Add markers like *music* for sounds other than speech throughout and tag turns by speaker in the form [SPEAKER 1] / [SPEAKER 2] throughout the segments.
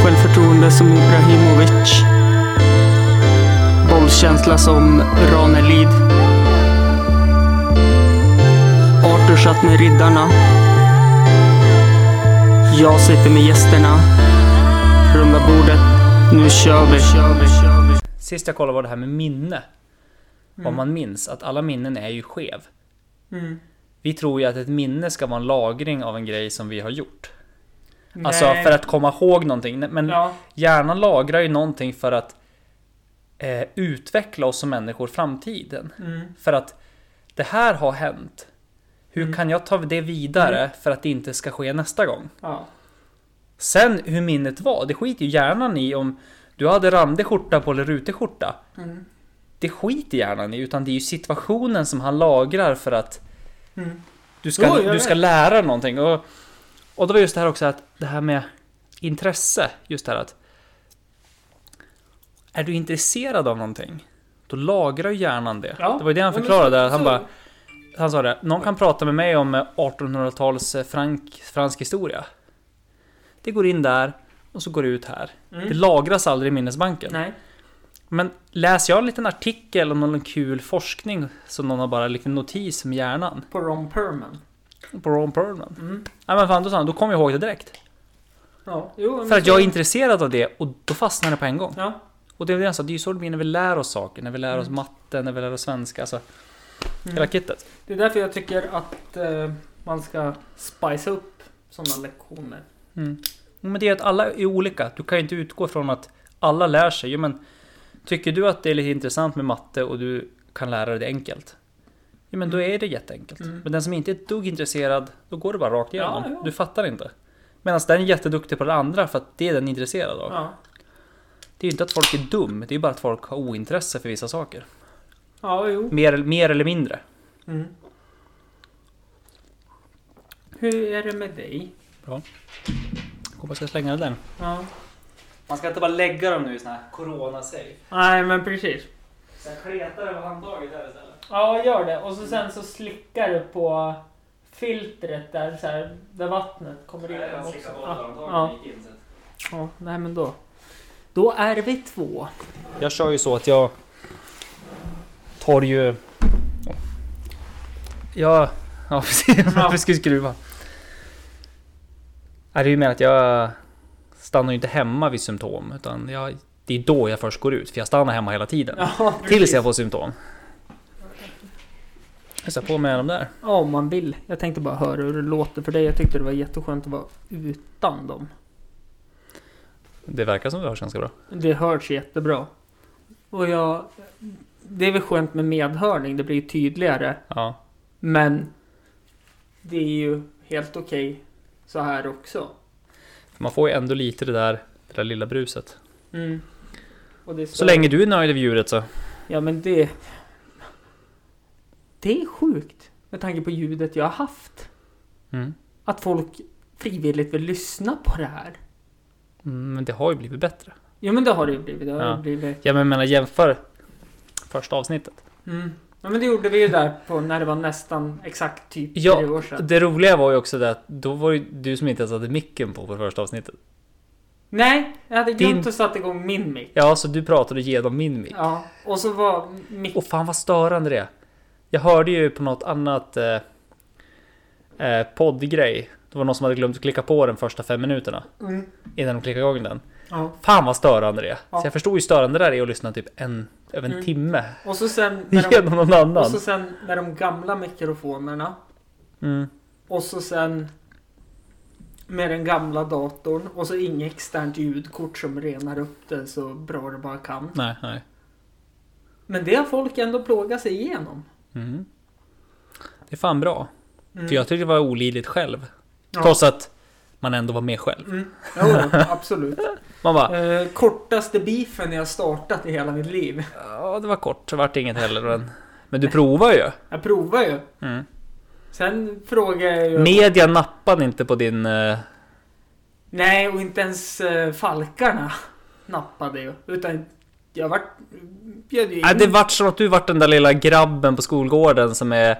[SPEAKER 1] Bollsinne som Ibrahimovic. Bollkänsla som Ranelid. Arthur satt med riddarna. Jag sitter med gästerna. Runda bordet. Nu kör vi.
[SPEAKER 2] Sist jag kollade var det här med minne. Om man minns att alla minnen är ju skev.
[SPEAKER 1] Mm.
[SPEAKER 2] Vi tror ju att ett minne ska vara en lagring av en grej som vi har gjort.
[SPEAKER 1] Nej.
[SPEAKER 2] Alltså för att komma ihåg någonting. Nej, Men
[SPEAKER 1] Ja.
[SPEAKER 2] hjärnan lagrar ju någonting för att eh, utveckla oss som människor i framtiden.
[SPEAKER 1] Mm.
[SPEAKER 2] För att det här har hänt. Hur kan jag ta det vidare
[SPEAKER 1] Mm.
[SPEAKER 2] för att det inte ska ske nästa gång?
[SPEAKER 1] Ja.
[SPEAKER 2] Sen hur minnet var, det skiter ju hjärnan i om du hade randig skjorta på eller rutig skjorta.
[SPEAKER 1] Mm.
[SPEAKER 2] Det skiter hjärnan i, utan det är ju situationen som han lagrar för att
[SPEAKER 1] Mm.
[SPEAKER 2] du ska,
[SPEAKER 1] Jo, jag
[SPEAKER 2] du ska
[SPEAKER 1] vet.
[SPEAKER 2] lära dig någonting. Och, och det var just det här också att det här med intresse, just det här att är du intresserad av någonting, då lagrar ju hjärnan det.
[SPEAKER 1] Ja.
[SPEAKER 2] Det var ju det han
[SPEAKER 1] Ja, men
[SPEAKER 2] förklarade.
[SPEAKER 1] så-
[SPEAKER 2] att han
[SPEAKER 1] så-
[SPEAKER 2] bara, han sa det, någon kan prata med mig om eh, 1800-tals eh, frank, fransk historia. Det går in där och så går det ut här.
[SPEAKER 1] Mm.
[SPEAKER 2] Det lagras aldrig i minnesbanken.
[SPEAKER 1] Nej.
[SPEAKER 2] Men läser jag en liten artikel om någon kul forskning som någon har bara en liten notis om hjärnan
[SPEAKER 1] På Ron Perman.
[SPEAKER 2] på Ron Perlman.
[SPEAKER 1] Mm.
[SPEAKER 2] Nej men fan, då sa han, då kommer jag ihåg det direkt.
[SPEAKER 1] Ja. Jo, men
[SPEAKER 2] För att
[SPEAKER 1] så-
[SPEAKER 2] jag är intresserad av det och då fastnar det på en gång.
[SPEAKER 1] Ja.
[SPEAKER 2] Och det är det jag sa, det är ju så det blir när vi lär oss saker, när vi lär oss
[SPEAKER 1] Mm.
[SPEAKER 2] matte, när vi lär oss svenska, alltså hela kittet.
[SPEAKER 1] Det är därför jag tycker att eh, man ska spicea upp sådana lektioner.
[SPEAKER 2] Mm. Men det är att alla är olika. Du kan ju inte utgå från att alla lär sig. Jo, men tycker du att det är lite intressant med matte och du kan lära dig det enkelt. Ja, men
[SPEAKER 1] Mm.
[SPEAKER 2] då är det jätteenkelt. Men den som inte är ett dugg intresserad, då går det bara rakt igenom.
[SPEAKER 1] Ja, ja.
[SPEAKER 2] Du fattar inte. Medan den är jätteduktig på det andra för att det är den intresserad av.
[SPEAKER 1] Ja.
[SPEAKER 2] Det är ju inte att folk är dum, det är ju bara att folk har ointresse för vissa saker.
[SPEAKER 1] Ja, jo.
[SPEAKER 2] Mer, mer eller mindre.
[SPEAKER 1] Mm. Hur är det med dig?
[SPEAKER 2] Hoppas jag ska slänga den.
[SPEAKER 1] Ja.
[SPEAKER 2] Man ska inte bara lägga dem nu i såna här corona-safe.
[SPEAKER 1] Nej, men precis.
[SPEAKER 2] Sen kletar över handtaget här istället.
[SPEAKER 1] Ja, gör det. Och så sen så slickar du på filtret där, så här, där vattnet kommer in också. Ja, ja. ja, nej men då. Då är vi två.
[SPEAKER 2] Jag kör ju så att jag tar ju... Jag... Ja *laughs* precis, varför ska jag skruva? Nej, det är ju mer att jag stannar ju inte hemma vid symptom utan jag, det är då jag först går ut för jag stannar hemma hela tiden.
[SPEAKER 1] Ja,
[SPEAKER 2] tills jag får symptom. Jag ska på med dem där.
[SPEAKER 1] Ja, om man vill. Jag tänkte bara höra hur det låter för dig. Jag tyckte det var jätteskönt att vara utan dem.
[SPEAKER 2] Det verkar som det hörs ganska bra.
[SPEAKER 1] Det hörs jättebra. Och jag... Det är väl skönt med medhörning, det blir ju tydligare.
[SPEAKER 2] Ja.
[SPEAKER 1] Men det är ju helt okej så här också.
[SPEAKER 2] För man får ju ändå lite det där, det där lilla bruset.
[SPEAKER 1] Mm. Och det är
[SPEAKER 2] Så länge du är nöjd över djuret så.
[SPEAKER 1] Ja men det... Det är sjukt med tanke på ljudet jag har haft.
[SPEAKER 2] Mm.
[SPEAKER 1] Att folk frivilligt vill lyssna på det här.
[SPEAKER 2] Mm, Men det har ju blivit bättre.
[SPEAKER 1] Ja men det har det ju blivit. Det har
[SPEAKER 2] Ja.
[SPEAKER 1] ju blivit.
[SPEAKER 2] Ja men jag menar jämför första avsnittet.
[SPEAKER 1] Mm. Ja men det gjorde vi ju där på när det var nästan exakt typ
[SPEAKER 2] Ja,
[SPEAKER 1] tre år sedan.
[SPEAKER 2] Det roliga var ju också det att då var ju du som inte ens hade micken på på första avsnittet.
[SPEAKER 1] Nej, jag hade glömt
[SPEAKER 2] Din-
[SPEAKER 1] att sätta igång min mick.
[SPEAKER 2] Ja, så du pratade genom min mick.
[SPEAKER 1] Ja, och så var mick...
[SPEAKER 2] Och fan vad störande det är. Jag hörde ju på något annat eh, eh, poddgrej. Det var någon som hade glömt att klicka på den första fem minuterna
[SPEAKER 1] Mm.
[SPEAKER 2] innan de klickade igång den.
[SPEAKER 1] Ja.
[SPEAKER 2] Fan vad störande det är.
[SPEAKER 1] Ja.
[SPEAKER 2] Så jag förstod ju hur störande det där är att lyssna typ en, över en
[SPEAKER 1] Mm.
[SPEAKER 2] timme
[SPEAKER 1] Och så sen...
[SPEAKER 2] *laughs*
[SPEAKER 1] När de...
[SPEAKER 2] genom någon annan.
[SPEAKER 1] Och så sen när de gamla mikrofonerna
[SPEAKER 2] Mm.
[SPEAKER 1] och så sen med den gamla datorn och så inget externt ljudkort som renar upp det så bra det bara kan.
[SPEAKER 2] Nej, nej.
[SPEAKER 1] Men det har folk ändå plågat sig igenom.
[SPEAKER 2] Mm. Det är fan bra.
[SPEAKER 1] Mm.
[SPEAKER 2] För jag tyckte det var olidligt själv.
[SPEAKER 1] Ja.
[SPEAKER 2] Trots att man ändå var med själv.
[SPEAKER 1] Mm. Jo,
[SPEAKER 2] *laughs*
[SPEAKER 1] absolut.
[SPEAKER 2] Man bara,
[SPEAKER 1] Eh, kortaste beefen jag startat i hela mitt liv.
[SPEAKER 2] ja det var kort, det vart inget heller. Men, men du provar ju.
[SPEAKER 1] Jag provar ju.
[SPEAKER 2] Mm.
[SPEAKER 1] Sen frågar jag ju...
[SPEAKER 2] Media nappade inte på din... eh,
[SPEAKER 1] Mm. Nej, och inte ens eh, falkarna nappade ju. Utan jag vart... Bjöd ju in...
[SPEAKER 2] Nej, det vart som att du vart den där lilla grabben på skolgården som är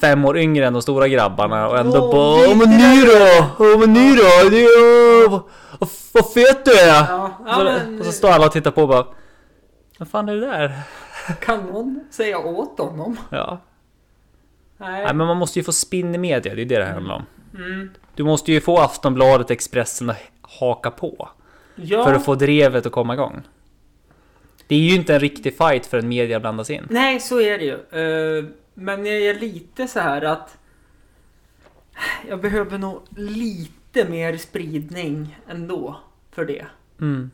[SPEAKER 2] fem år yngre än de stora grabbarna och ändå
[SPEAKER 1] Åh,
[SPEAKER 2] bara Åh men
[SPEAKER 1] vidare."
[SPEAKER 2] ni då? Åh men ni då? Det är, åh, vad, vad fet du är!
[SPEAKER 1] Ja,
[SPEAKER 2] Och
[SPEAKER 1] ja,
[SPEAKER 2] så,
[SPEAKER 1] men-
[SPEAKER 2] och så står alla och tittar på och bara Vad fan är det där?
[SPEAKER 1] Kan någon säga åt honom?
[SPEAKER 2] Ja.
[SPEAKER 1] Nej.
[SPEAKER 2] Nej men man måste ju få spinn i media, det är det det handlar om.
[SPEAKER 1] Mm.
[SPEAKER 2] Du måste ju få Aftonbladet, Expressen att haka på.
[SPEAKER 1] Ja.
[SPEAKER 2] För att få drevet att komma igång. Det är ju inte en riktig fight förrän media blandas in.
[SPEAKER 1] Nej, så är det ju. Eh, Men jag är lite så här att jag behöver nog lite mer spridning ändå för det.
[SPEAKER 2] Mm.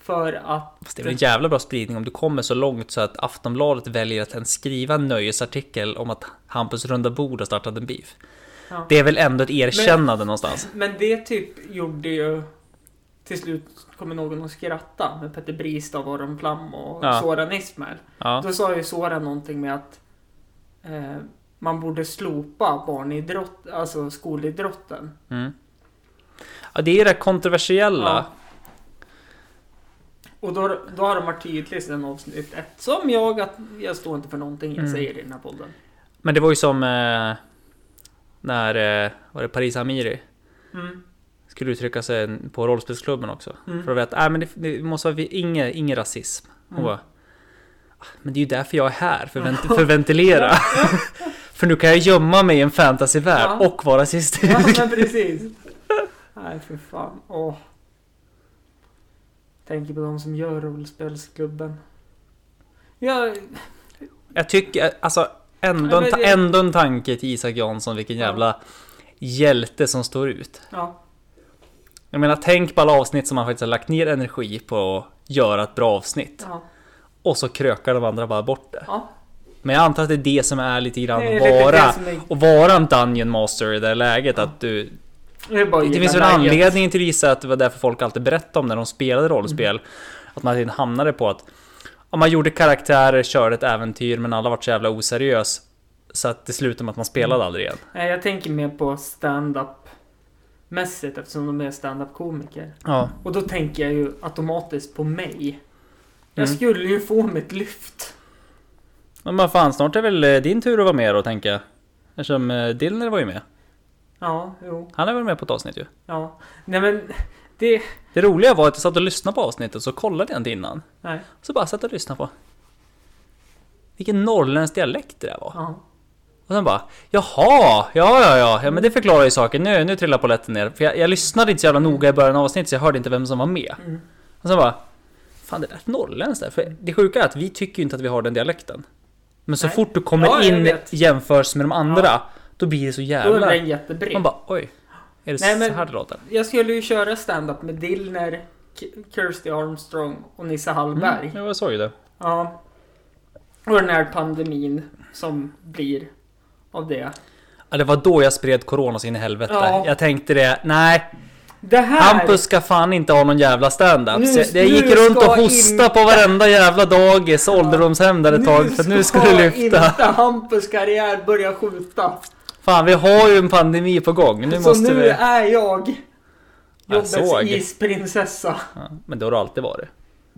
[SPEAKER 1] För att...
[SPEAKER 2] Fast det är väl en jävla bra spridning om du kommer så långt så att Aftonbladet väljer att ens skriva en nöjesartikel om att Hampus runda bord har startat en beef.
[SPEAKER 1] Ja.
[SPEAKER 2] Det är väl ändå ett erkännande någonstans.
[SPEAKER 1] Men det typ gjorde ju... Till slut kommer någon att skratta med Petter Bristav, Aron Flam och
[SPEAKER 2] Ja.
[SPEAKER 1] Soran Ismail.
[SPEAKER 2] Ja.
[SPEAKER 1] Då sa ju Soran någonting med att eh, man borde slopa barnidrott, alltså skolidrotten.
[SPEAKER 2] Mm. ja, det är ju det kontroversiella.
[SPEAKER 1] Och då, då har de varit tydliga sedan avsnitt ett. Som jag, att jag står inte för någonting jag
[SPEAKER 2] Mm.
[SPEAKER 1] säger i den här podden.
[SPEAKER 2] Men det var ju som eh, när eh, var det Paris Amiri
[SPEAKER 1] Mm.
[SPEAKER 2] skulle uttrycka sig på rollspelsklubben också.
[SPEAKER 1] Mm.
[SPEAKER 2] För att veta, nej men det, det måste vara vi- ingen, ingen rasism. Hon
[SPEAKER 1] Mm.
[SPEAKER 2] bara, "Ah, men det är ju därför jag är här, för,
[SPEAKER 1] *laughs*
[SPEAKER 2] vent, för att ventilera. *laughs* för nu kan jag gömma mig i en fantasyvärld
[SPEAKER 1] Ja.
[SPEAKER 2] och vara rasist.
[SPEAKER 1] Ja, men precis. Nej, för fan. Åh. Tänker på de som gör rollspelsklubben. Ja,
[SPEAKER 2] *laughs* jag tycker, alltså ändå,
[SPEAKER 1] Ja,
[SPEAKER 2] en,
[SPEAKER 1] men
[SPEAKER 2] ta-
[SPEAKER 1] det-
[SPEAKER 2] ändå en tanke till Isak Jansson, vilken
[SPEAKER 1] Ja.
[SPEAKER 2] jävla hjälte som står ut.
[SPEAKER 1] ja.
[SPEAKER 2] Jag menar, tänk på alla avsnitt som han faktiskt har lagt ner energi på att göra ett bra avsnitt.
[SPEAKER 1] ja,
[SPEAKER 2] Och så krökar de andra bara bort det.
[SPEAKER 1] ja.
[SPEAKER 2] Men jag antar att det är det som är lite grann
[SPEAKER 1] Det är
[SPEAKER 2] att
[SPEAKER 1] lite
[SPEAKER 2] vara,
[SPEAKER 1] det som är-
[SPEAKER 2] och vara en Dungeon Master i det här läget. Att du,
[SPEAKER 1] Det, är bara att
[SPEAKER 2] det
[SPEAKER 1] gilla
[SPEAKER 2] finns väl en
[SPEAKER 1] läget.
[SPEAKER 2] anledning till Lisa att det var därför folk alltid berättade om när de spelade rollspel. Att man alltid hamnade på att om man gjorde karaktärer, körde ett äventyr men alla vart så jävla oseriös. Så att det slutade med att man spelade aldrig igen.
[SPEAKER 1] Nej, jag tänker mer på stand-up mässigt eftersom de är stand-up komiker.
[SPEAKER 2] Ja.
[SPEAKER 1] Och då tänker jag ju automatiskt på mig. Jag
[SPEAKER 2] Mm.
[SPEAKER 1] skulle ju få mitt lyft.
[SPEAKER 2] Men vad fan, snart är väl eh, din tur att vara med då tänker jag. Eftersom eh, Dillner var ju med.
[SPEAKER 1] Ja, jo,
[SPEAKER 2] Han är väl med på ett avsnitt ju.
[SPEAKER 1] ja. Nej men, det...
[SPEAKER 2] Det roliga var att jag satt och lyssnade på avsnittet så kollade jag inte innan.
[SPEAKER 1] Nej.
[SPEAKER 2] Så bara satt och lyssnade på. Vilken norrländsk dialekt det där var.
[SPEAKER 1] Ja.
[SPEAKER 2] Och sen bara Jaha, ja ja ja, ja men det förklarar ju saken. Nu, nu trillar polletten ner. För jag, jag lyssnade inte så jävla noga i början av avsnittet så jag hörde inte vem som var med.
[SPEAKER 1] Mm.
[SPEAKER 2] Och sen bara Fan det där är norrländskt där. För det sjuka är att vi tycker ju inte att vi har den dialekten. Men så
[SPEAKER 1] Nej.
[SPEAKER 2] fort du kommer
[SPEAKER 1] Ja, jag
[SPEAKER 2] in
[SPEAKER 1] vet.
[SPEAKER 2] jämförs med de andra då blir det så
[SPEAKER 1] Då är
[SPEAKER 2] jävla...
[SPEAKER 1] den jättebred.
[SPEAKER 2] Man bara oj. Är det
[SPEAKER 1] Nej, men-
[SPEAKER 2] så här det låter?
[SPEAKER 1] Jag skulle ju köra stand-up med Dillner, K- Kirsty Armstrong och Nisse Hallberg.
[SPEAKER 2] Mm, jag såg ju det.
[SPEAKER 1] Ja. Och den här pandemin som blir av det.
[SPEAKER 2] Ja, det var då jag spred corona så in i helvete.
[SPEAKER 1] Ja.
[SPEAKER 2] Jag tänkte det, nej.
[SPEAKER 1] Det här!
[SPEAKER 2] Hampus ska fan inte ha någon jävla
[SPEAKER 1] Nu-
[SPEAKER 2] standup. Så jag- Jag
[SPEAKER 1] nu
[SPEAKER 2] gick runt
[SPEAKER 1] ska
[SPEAKER 2] och hostade
[SPEAKER 1] inte-
[SPEAKER 2] på varenda jävla dagis och ålderdomshem där ett tag för att nu ska det lyfta.
[SPEAKER 1] inte Hampus karriär börja skjuta.
[SPEAKER 2] Fan, vi har ju en pandemi på gång. Nu
[SPEAKER 1] så
[SPEAKER 2] måste
[SPEAKER 1] nu
[SPEAKER 2] vi...
[SPEAKER 1] är jag
[SPEAKER 2] Jag
[SPEAKER 1] jobbets
[SPEAKER 2] såg.
[SPEAKER 1] isprinsessa.
[SPEAKER 2] Ja, men det har det alltid varit.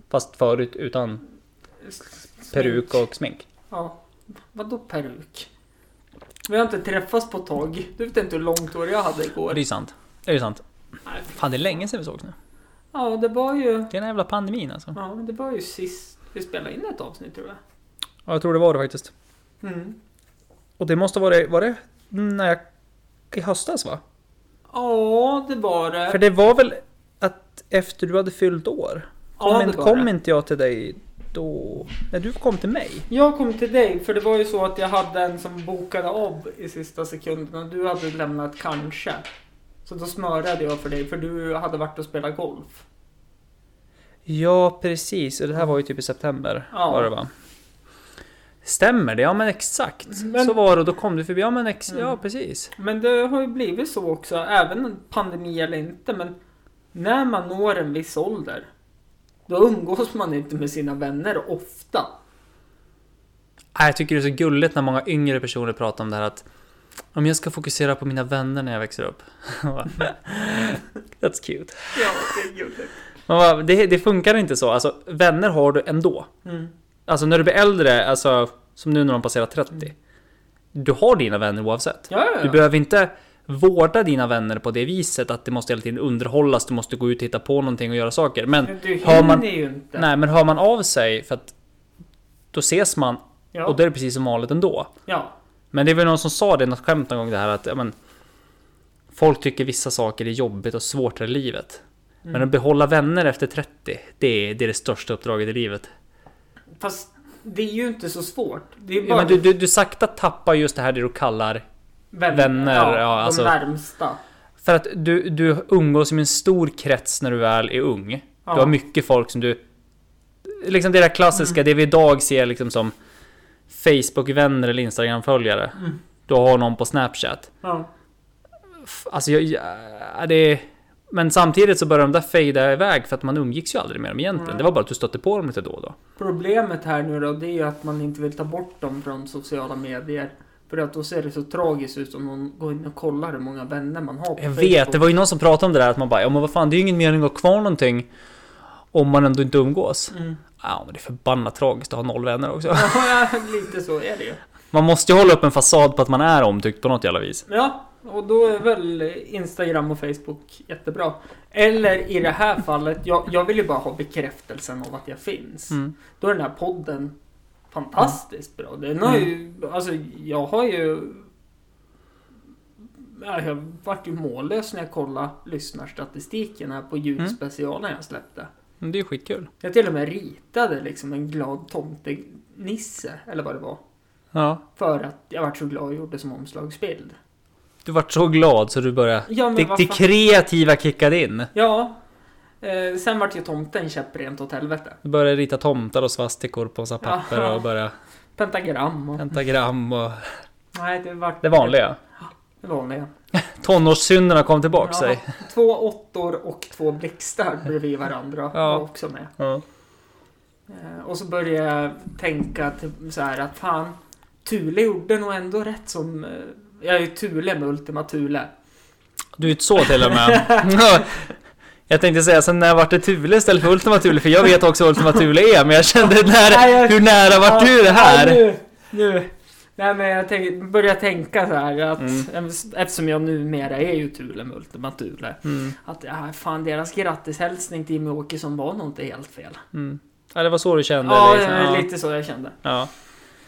[SPEAKER 2] Fast förut utan peruk och smink.
[SPEAKER 1] Ja. Vadå peruk? Vi har inte träffats på ett tag. Du vet inte hur långt hår jag hade
[SPEAKER 2] Det är
[SPEAKER 1] igår.
[SPEAKER 2] ju sant. Det är ju sant.
[SPEAKER 1] Nej.
[SPEAKER 2] Fan, det är länge sedan vi sågs nu.
[SPEAKER 1] Ja, det var ju...
[SPEAKER 2] Det är den här jävla pandemin alltså.
[SPEAKER 1] Ja, men det var ju sist vi spelade in ett avsnitt tror jag.
[SPEAKER 2] Ja, jag tror det var det faktiskt.
[SPEAKER 1] Mm.
[SPEAKER 2] Och det måste vara det... Var det när jag... I höstas va?
[SPEAKER 1] Ja, det var det.
[SPEAKER 2] För det var väl att efter du hade fyllt år?
[SPEAKER 1] ja,
[SPEAKER 2] Kom,
[SPEAKER 1] det
[SPEAKER 2] in,
[SPEAKER 1] var
[SPEAKER 2] kom
[SPEAKER 1] det.
[SPEAKER 2] inte jag till dig då? Nej, du kom till mig.
[SPEAKER 1] Jag kom till dig, för det var ju så att jag hade en som bokade av i sista sekunden och du hade lämnat kanske. Så då smörade jag för dig, för du hade varit och spelat golf.
[SPEAKER 2] Ja, precis. Och Det här var ju typ i september.
[SPEAKER 1] Ja.
[SPEAKER 2] Var det, va? Stämmer det? Ja, men exakt.
[SPEAKER 1] Men-
[SPEAKER 2] Så var det och då kom du förbi. Ja, men ex-
[SPEAKER 1] Mm.
[SPEAKER 2] ja, precis.
[SPEAKER 1] Men det har ju blivit så också, även pandemi eller inte, men när man når en viss ålder, då umgås man inte med sina vänner ofta.
[SPEAKER 2] Nej, Jag tycker det är så gulligt när många yngre personer pratar om det här att om jag ska fokusera på mina vänner när jag växer upp. *laughs* That's cute.
[SPEAKER 1] Ja, det är gulligt.
[SPEAKER 2] Man bara, det, det funkar inte så. Alltså, vänner har du ändå.
[SPEAKER 1] Mm.
[SPEAKER 2] Alltså när du blir äldre, alltså som nu när de passerar 30. du har dina vänner oavsett.
[SPEAKER 1] Ja, ja, ja.
[SPEAKER 2] Du behöver inte vårda dina vänner på det viset att det måste hela tiden underhållas, du måste gå ut och hitta på någonting och göra saker. Men
[SPEAKER 1] Men Du
[SPEAKER 2] har
[SPEAKER 1] hinner
[SPEAKER 2] man,
[SPEAKER 1] ju inte.
[SPEAKER 2] nej, men hör man av sig för att då ses man
[SPEAKER 1] Ja.
[SPEAKER 2] och då är det precis som vanligt ändå.
[SPEAKER 1] ja.
[SPEAKER 2] Men det är väl någon som sa det i något skämt någon gång det här att ja, men, folk tycker vissa saker är jobbigt och svårt i livet.
[SPEAKER 1] Mm.
[SPEAKER 2] Men att behålla vänner efter 30, det är det, är det största uppdraget i livet.
[SPEAKER 1] Fast det är ju inte så svårt. Det är bara
[SPEAKER 2] Men du, du, du sakta tappar just det här det du kallar
[SPEAKER 1] vänner.
[SPEAKER 2] vänner,
[SPEAKER 1] ja,
[SPEAKER 2] ja, alltså-
[SPEAKER 1] De närmsta.
[SPEAKER 2] För att du, du umgås i en stor krets när du väl är ung.
[SPEAKER 1] Ja. Mm.
[SPEAKER 2] Du har mycket folk som du... Liksom det där klassiska, det vi idag ser liksom som Facebook-vänner eller Instagram-följare.
[SPEAKER 1] Mm.
[SPEAKER 2] Du har någon på Snapchat.
[SPEAKER 1] Ja.
[SPEAKER 2] F- Alltså jag... jag det är... Men samtidigt så börjar de där fejda iväg för att man umgicks ju aldrig med dem egentligen.
[SPEAKER 1] Nej.
[SPEAKER 2] Det var bara att du stötte på dem lite då och då.
[SPEAKER 1] Problemet här nu då, det är ju att man inte vill ta bort dem från sociala medier. För att då ser det så tragiskt ut om någon går in och kollar hur många vänner man har på
[SPEAKER 2] Jag
[SPEAKER 1] Facebook.
[SPEAKER 2] vet, det var ju någon som pratade om det där att man bara ja men vad fan det är ju ingen mening att ha kvar någonting om man ändå inte umgås.
[SPEAKER 1] Mm. *laughs*
[SPEAKER 2] Ja men det är förbannat tragiskt att ha noll vänner också.
[SPEAKER 1] Ja, lite så är det ju.
[SPEAKER 2] Man måste ju hålla upp en fasad på att man är omtyckt på något jävla vis.
[SPEAKER 1] Ja, och då är väl Instagram och Facebook jättebra. Eller i det här fallet, jag, jag vill ju bara ha bekräftelsen av att jag finns.
[SPEAKER 2] Mm.
[SPEAKER 1] Då är den här podden fantastiskt bra. Den har ju, alltså jag har ju... Ja, Jag vart ju mållös när jag kollade lyssnarstatistiken här på ljudspecialen jag släppte.
[SPEAKER 2] Men Det är skitkul.
[SPEAKER 1] Jag till och med ritade liksom en glad tomtenisse, eller vad det var.
[SPEAKER 2] Ja.
[SPEAKER 1] För att jag vart så glad och gjorde som omslagsbild.
[SPEAKER 2] Du vart så glad så du började...
[SPEAKER 1] Ja, men
[SPEAKER 2] det,
[SPEAKER 1] vad
[SPEAKER 2] det
[SPEAKER 1] fan.
[SPEAKER 2] kreativa kickade in.
[SPEAKER 1] Ja. Eh, sen vart ju tomten käpprent åt helvete.
[SPEAKER 2] Du började rita tomtar och svastikor på så här papper
[SPEAKER 1] Ja.
[SPEAKER 2] och börja
[SPEAKER 1] Pentagram och...
[SPEAKER 2] pentagram och
[SPEAKER 1] Nej, det vart...
[SPEAKER 2] det vanliga.
[SPEAKER 1] Det vanliga.
[SPEAKER 2] Tonårssynderna kom tillbaka
[SPEAKER 1] Ja,
[SPEAKER 2] sig.
[SPEAKER 1] Två åttor och två blixtar
[SPEAKER 2] *laughs*
[SPEAKER 1] bredvid varandra
[SPEAKER 2] Ja.
[SPEAKER 1] var också med.
[SPEAKER 2] Ja.
[SPEAKER 1] Eh, och så började jag tänka typ, så här att fan, Thule gjorde nog ändå rätt som... Eh, jag är ju Thule med Ultima Thule.
[SPEAKER 2] Du utsåg till och med. *laughs* Ja. Jag tänkte säga sen när vart det Thule istället för Ultima Thule? För jag vet också vad Ultima Thule är men
[SPEAKER 1] *laughs*
[SPEAKER 2] jag kände
[SPEAKER 1] Nej,
[SPEAKER 2] när,
[SPEAKER 1] jag-
[SPEAKER 2] hur nära vart du det
[SPEAKER 1] Ja,
[SPEAKER 2] här?
[SPEAKER 1] nu, nu. Nej men jag tänk, började tänka så här att
[SPEAKER 2] Mm.
[SPEAKER 1] eftersom jag numera är ju Thule med Ultima Thule.
[SPEAKER 2] Mm,
[SPEAKER 1] Att ja, fan deras grattishälsning till Jimmy Åkesson var nog inte helt fel.
[SPEAKER 2] mm. Ja, det var så du kände?
[SPEAKER 1] Ja,
[SPEAKER 2] liksom.
[SPEAKER 1] eh, lite så jag kände.
[SPEAKER 2] Ja.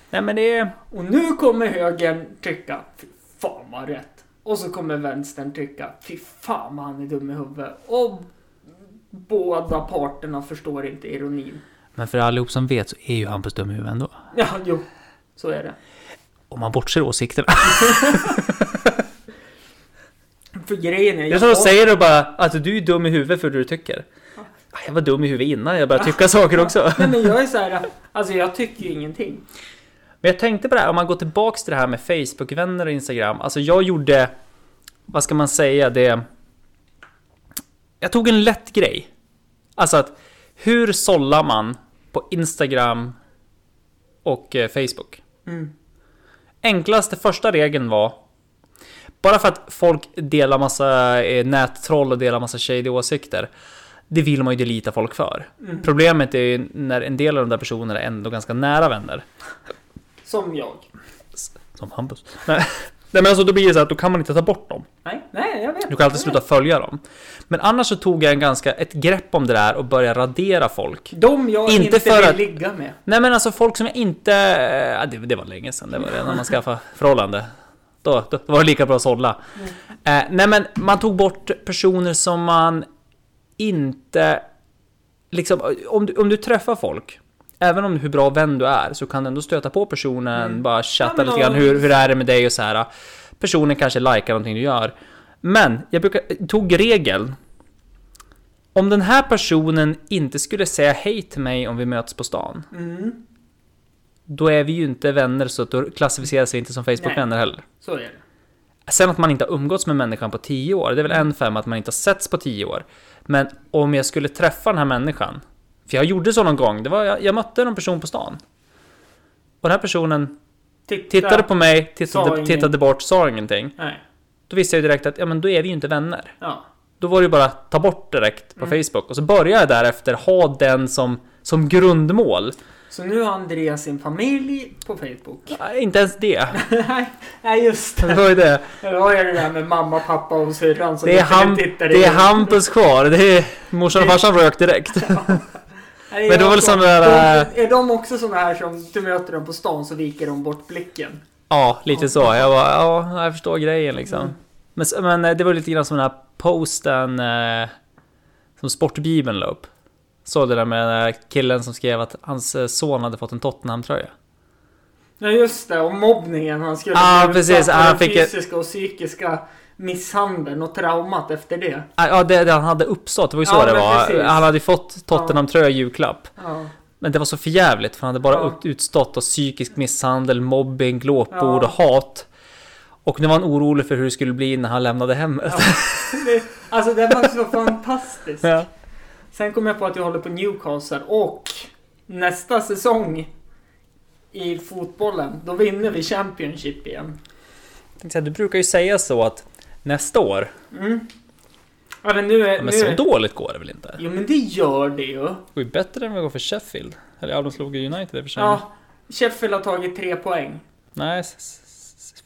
[SPEAKER 2] Nej men det är...
[SPEAKER 1] Och nu kommer högern tycka fy fan vad rätt. Och så kommer vänstern tycka fy fan vad han är dum i huvudet. Och båda parterna förstår inte ironin. *laughs*
[SPEAKER 2] Men för allihop som vet så är ju Hampus dum i huvudet ändå.
[SPEAKER 1] Ja, jo. Så är det.
[SPEAKER 2] Om man bortser åsikterna.
[SPEAKER 1] För grejen är...
[SPEAKER 2] Det är som de säger och bara att du är dum i huvudet för det du tycker. Ah, Jag var dum i huvudet innan jag började tycka saker också.
[SPEAKER 1] Nej men jag är så här, alltså jag tycker ju ingenting.
[SPEAKER 2] Men jag tänkte på det här, om man går tillbaks till det här med Facebook-vänner och Instagram. Alltså jag gjorde, vad ska man säga, det... Jag tog en lätt grej. Alltså att, hur sållar man på Instagram och eh, Facebook?
[SPEAKER 1] Mm.
[SPEAKER 2] Enklaste första regeln var bara för att folk delar massa eh, nättroll och delar massa shady åsikter. Det vill man ju delita folk för. Problemet är ju när en del av de där personerna är ändå ganska nära vänner.
[SPEAKER 1] Som jag.
[SPEAKER 2] Som Hampus. Nej, Nej men alltså då blir det så att då kan man inte ta bort dem.
[SPEAKER 1] Nej, nej jag vet.
[SPEAKER 2] Du kan alltid
[SPEAKER 1] Jag
[SPEAKER 2] sluta
[SPEAKER 1] vet.
[SPEAKER 2] följa dem. Men annars så tog jag en ganska, ett grepp om det där och började radera folk.
[SPEAKER 1] De jag
[SPEAKER 2] Inte
[SPEAKER 1] inte,
[SPEAKER 2] för
[SPEAKER 1] vill
[SPEAKER 2] att-
[SPEAKER 1] ligga med.
[SPEAKER 2] Nej men alltså folk som jag inte... eh, Ja, det, det var länge sedan, det var redan man skaffade förhållande. Då, då var det lika bra att sålla. Eh, nej men man tog bort personer som man inte... Liksom, om du, om du träffar folk, även om hur bra vän du är, så kan du ändå stöta på personen, bara chatta
[SPEAKER 1] Mm. Ja, men
[SPEAKER 2] lite grann.
[SPEAKER 1] då-
[SPEAKER 2] Hur, hur är det med dig och så här. Personen kanske likar någonting du gör. Men jag brukar, tog regeln. Om den här personen inte skulle säga hej till mig om vi möts på stan
[SPEAKER 1] Mm,
[SPEAKER 2] då är vi ju inte vänner så att då klassificeras vi inte som Facebook-vänner heller.
[SPEAKER 1] så är det.
[SPEAKER 2] Sen att man inte har umgåtts med människan på 10 år, det är väl en femma att man inte har setts på 10 år. Men om jag skulle träffa den här människan, för jag gjorde så någon gång, det var, jag, jag mötte en person på stan. Och den här personen
[SPEAKER 1] Titta.
[SPEAKER 2] tittade på mig,
[SPEAKER 1] Sa
[SPEAKER 2] tittade,
[SPEAKER 1] ingen-
[SPEAKER 2] tittade bort, sa ingenting.
[SPEAKER 1] Nej,
[SPEAKER 2] Då visste jag ju direkt att ja, men då är vi ju inte vänner.
[SPEAKER 1] ja.
[SPEAKER 2] Då var det ju bara att
[SPEAKER 1] Mm.
[SPEAKER 2] ta bort direkt på Facebook. Och så började jag därefter ha den som, som grundmål.
[SPEAKER 1] Så nu har Andreas sin familj på
[SPEAKER 2] *laughs*
[SPEAKER 1] Facebook.
[SPEAKER 2] Nej, inte ens
[SPEAKER 1] *laughs*
[SPEAKER 2] det.
[SPEAKER 1] Nej, Nej, just
[SPEAKER 2] Det
[SPEAKER 1] det.
[SPEAKER 2] var ju det.
[SPEAKER 1] Det var ju det där med mamma, pappa och syrran som
[SPEAKER 2] Det är,
[SPEAKER 1] inte
[SPEAKER 2] ham,
[SPEAKER 1] tittar
[SPEAKER 2] det är
[SPEAKER 1] in.
[SPEAKER 2] Hampus kvar. Det är
[SPEAKER 1] *laughs*
[SPEAKER 2] morsan och farsan rök direkt.
[SPEAKER 1] Nej,
[SPEAKER 2] Men det var väl
[SPEAKER 1] jag-
[SPEAKER 2] som det där, eh,
[SPEAKER 1] De- Är de också såna här som du möter dem på stan så viker de bort blicken?
[SPEAKER 2] Ja, lite så. Jag bara, ja, jag förstår grejen liksom.
[SPEAKER 1] Mm.
[SPEAKER 2] Men, s- men eh, det var lite grann som den här posten eh, som Sportbibeln la upp. Såg det där med den här killen som skrev att hans eh, son hade fått en Tottenham-tröja.
[SPEAKER 1] Ja just det, och mobbningen han skulle
[SPEAKER 2] Ja,
[SPEAKER 1] bli
[SPEAKER 2] precis.
[SPEAKER 1] utsatt för
[SPEAKER 2] Ja, han
[SPEAKER 1] den
[SPEAKER 2] fick ett-
[SPEAKER 1] fysiska och psykiska misshandeln och traumat efter det.
[SPEAKER 2] Ah, Ja, det, det han hade uppstått, det var ju så
[SPEAKER 1] Ja,
[SPEAKER 2] det
[SPEAKER 1] men
[SPEAKER 2] var.
[SPEAKER 1] precis.
[SPEAKER 2] Han hade ju fått Tottenham-tröja i julklapp.
[SPEAKER 1] Ja.
[SPEAKER 2] Men det var så förjävligt för han hade bara
[SPEAKER 1] Ja.
[SPEAKER 2] ut- utstått av psykisk misshandel, mobbing, glåpord
[SPEAKER 1] Ja.
[SPEAKER 2] och hat. Och nu var han orolig för hur det skulle bli när han lämnade hemmet.
[SPEAKER 1] Det- Alltså det var så fantastiskt.
[SPEAKER 2] Ja.
[SPEAKER 1] Sen kom jag på att jag håller på Newcastle och nästa säsong i fotbollen, då vinner vi Championship igen.
[SPEAKER 2] Tänkte säga, Du brukar ju säga så att nästa år,
[SPEAKER 1] Mm. Ja, men nu är...
[SPEAKER 2] ja, men
[SPEAKER 1] nu
[SPEAKER 2] så
[SPEAKER 1] är...
[SPEAKER 2] dåligt går det väl inte?
[SPEAKER 1] Jo men det gör det ju.
[SPEAKER 2] Det går ju bättre än vad det går för Sheffield. Eller ja, de slog ju United i och för sig.
[SPEAKER 1] Ja, Sheffield har tagit tre poäng.
[SPEAKER 2] Nej, s- s- s-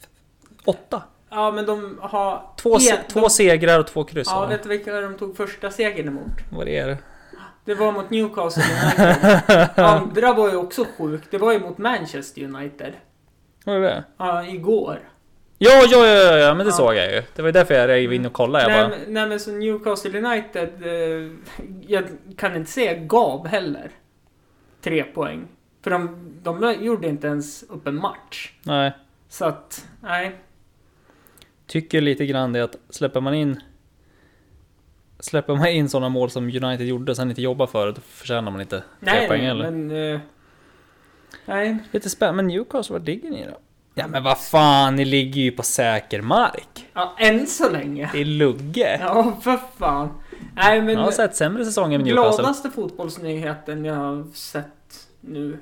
[SPEAKER 2] åtta.
[SPEAKER 1] Ja men de har...
[SPEAKER 2] Två, se-
[SPEAKER 1] en-
[SPEAKER 2] två
[SPEAKER 1] de...
[SPEAKER 2] segrar och två kryss.
[SPEAKER 1] Ja,
[SPEAKER 2] Ja,
[SPEAKER 1] vet du vilka de tog första segern emot?
[SPEAKER 2] Vad är det?
[SPEAKER 1] Det var mot Newcastle United.
[SPEAKER 2] *laughs*
[SPEAKER 1] Andra var ju också sjukt. Det var ju mot Manchester United.
[SPEAKER 2] Vad är det?
[SPEAKER 1] Ja, igår.
[SPEAKER 2] Ja, ja, ja, ja, men det
[SPEAKER 1] Ja.
[SPEAKER 2] såg jag ju. Det var ju därför jag var inne och kollade. Jag
[SPEAKER 1] Nej,
[SPEAKER 2] bara,
[SPEAKER 1] men- nej men så Newcastle United, eh, jag kan inte säga gav heller. Tre poäng. För de, de gjorde inte ens upp en match.
[SPEAKER 2] nej.
[SPEAKER 1] Så att, nej.
[SPEAKER 2] Tycker lite grann det att släpper man in Släpper man in sådana mål som United gjorde och sen inte jobbar för det, då förtjänar man inte tre
[SPEAKER 1] Nej,
[SPEAKER 2] poäng
[SPEAKER 1] nej,
[SPEAKER 2] heller.
[SPEAKER 1] men... eh, nej.
[SPEAKER 2] Lite spännande, men Newcastle, vad ligger ni då? Ja men vad fan, ni ligger ju på säker mark.
[SPEAKER 1] Ja, än så länge. *laughs*
[SPEAKER 2] Det är lugge.
[SPEAKER 1] Ja, för fan. Nej men...
[SPEAKER 2] Jag har sett sämre säsonger med Newcastle.
[SPEAKER 1] gladaste fotbollsnyheten jag har sett nu,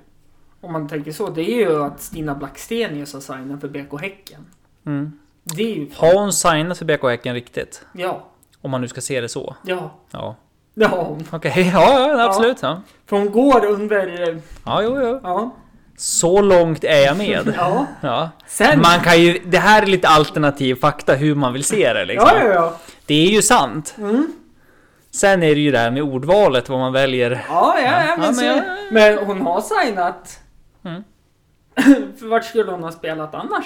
[SPEAKER 1] om man tänker så, det är ju att Stina Blackstenius har signat för BK Häcken.
[SPEAKER 2] Mm.
[SPEAKER 1] Det är ju...
[SPEAKER 2] Har hon signat för BK Häcken riktigt?
[SPEAKER 1] Ja,
[SPEAKER 2] Om man nu ska se det så.
[SPEAKER 1] ja,
[SPEAKER 2] Ja.
[SPEAKER 1] det har hon.
[SPEAKER 2] Okej, *laughs* ja, ja absolut. Ja.
[SPEAKER 1] För hon går under... eh,
[SPEAKER 2] ja, jo, jo.
[SPEAKER 1] Ja.
[SPEAKER 2] Så långt är jag med.
[SPEAKER 1] *laughs* Ja.
[SPEAKER 2] Ja.
[SPEAKER 1] Sen...
[SPEAKER 2] Man kan ju, det här är lite alternativ fakta hur man vill se det liksom.
[SPEAKER 1] Ja, ja, ja.
[SPEAKER 2] Det är ju sant.
[SPEAKER 1] Mm.
[SPEAKER 2] Sen är det ju det här med ordvalet, vad man väljer.
[SPEAKER 1] Ja, ja, ja, men,
[SPEAKER 2] men
[SPEAKER 1] så...
[SPEAKER 2] jag-
[SPEAKER 1] men hon har signat.
[SPEAKER 2] Mm.
[SPEAKER 1] för *laughs* vart skulle hon ha spelat annars?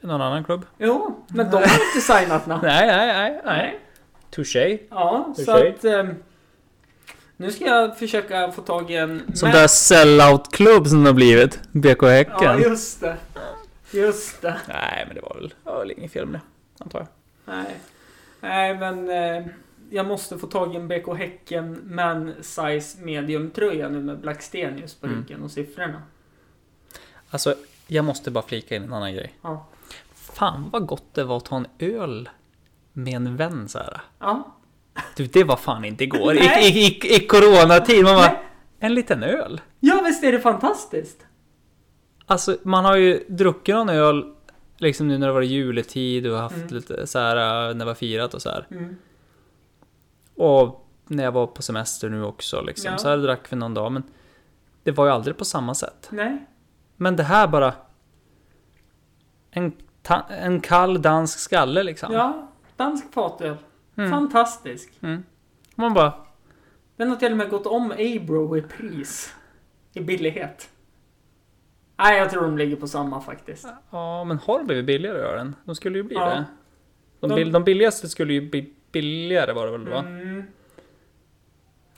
[SPEAKER 2] Någon annan klubb?
[SPEAKER 1] Jo, men de har inte signat nå.
[SPEAKER 2] Nej, nej, nej. nej. Touché.
[SPEAKER 1] Ja, så
[SPEAKER 2] Okej.
[SPEAKER 1] att... eh, Nu ska jag försöka få tag i en...
[SPEAKER 2] Som där sellout-klubb som det har blivit. BK Häcken.
[SPEAKER 1] Ja, just det. Just det.
[SPEAKER 2] Nej, men det var väl, det var väl inget fel med det. Antar jag.
[SPEAKER 1] Nej, Nej men eh, jag måste få tag i en BK Häcken Man Size Medium tröja nu med Blackstenius på
[SPEAKER 2] Mm.
[SPEAKER 1] ryggen och siffrorna.
[SPEAKER 2] Alltså, jag måste bara flika in en annan grej.
[SPEAKER 1] Ja.
[SPEAKER 2] Fan vad gott det var att ta en öl med en vän så här.
[SPEAKER 1] Ja.
[SPEAKER 2] Du, det var fan inte igår. I,
[SPEAKER 1] Nej.
[SPEAKER 2] i, i, i coronatid. Man bara,
[SPEAKER 1] Nej.
[SPEAKER 2] en liten öl.
[SPEAKER 1] ja, visst är det fantastiskt?
[SPEAKER 2] Alltså, man har ju druckit någon öl liksom nu när det var juletid och haft
[SPEAKER 1] Mm.
[SPEAKER 2] lite så här äh, när det var firat och så här.
[SPEAKER 1] Mm.
[SPEAKER 2] Och när jag var på semester nu också liksom.
[SPEAKER 1] Ja.
[SPEAKER 2] Så här drack vi någon dag, men det var ju aldrig på samma sätt.
[SPEAKER 1] Nej.
[SPEAKER 2] Men det här bara... En, ta- en kall dansk skalle liksom.
[SPEAKER 1] Ja, dansk fatöl.
[SPEAKER 2] Mm.
[SPEAKER 1] Fantastisk.
[SPEAKER 2] Mm. Man bara...
[SPEAKER 1] Den har till och med gått om Abro i pris. I billighet. Nej, jag tror de ligger på samma faktiskt.
[SPEAKER 2] Ja, men har de blivit billigare att göra den? De skulle ju bli
[SPEAKER 1] Ja.
[SPEAKER 2] det. De,
[SPEAKER 1] De-
[SPEAKER 2] bil- de billigaste skulle ju bli billigare var det väl då?
[SPEAKER 1] Mm.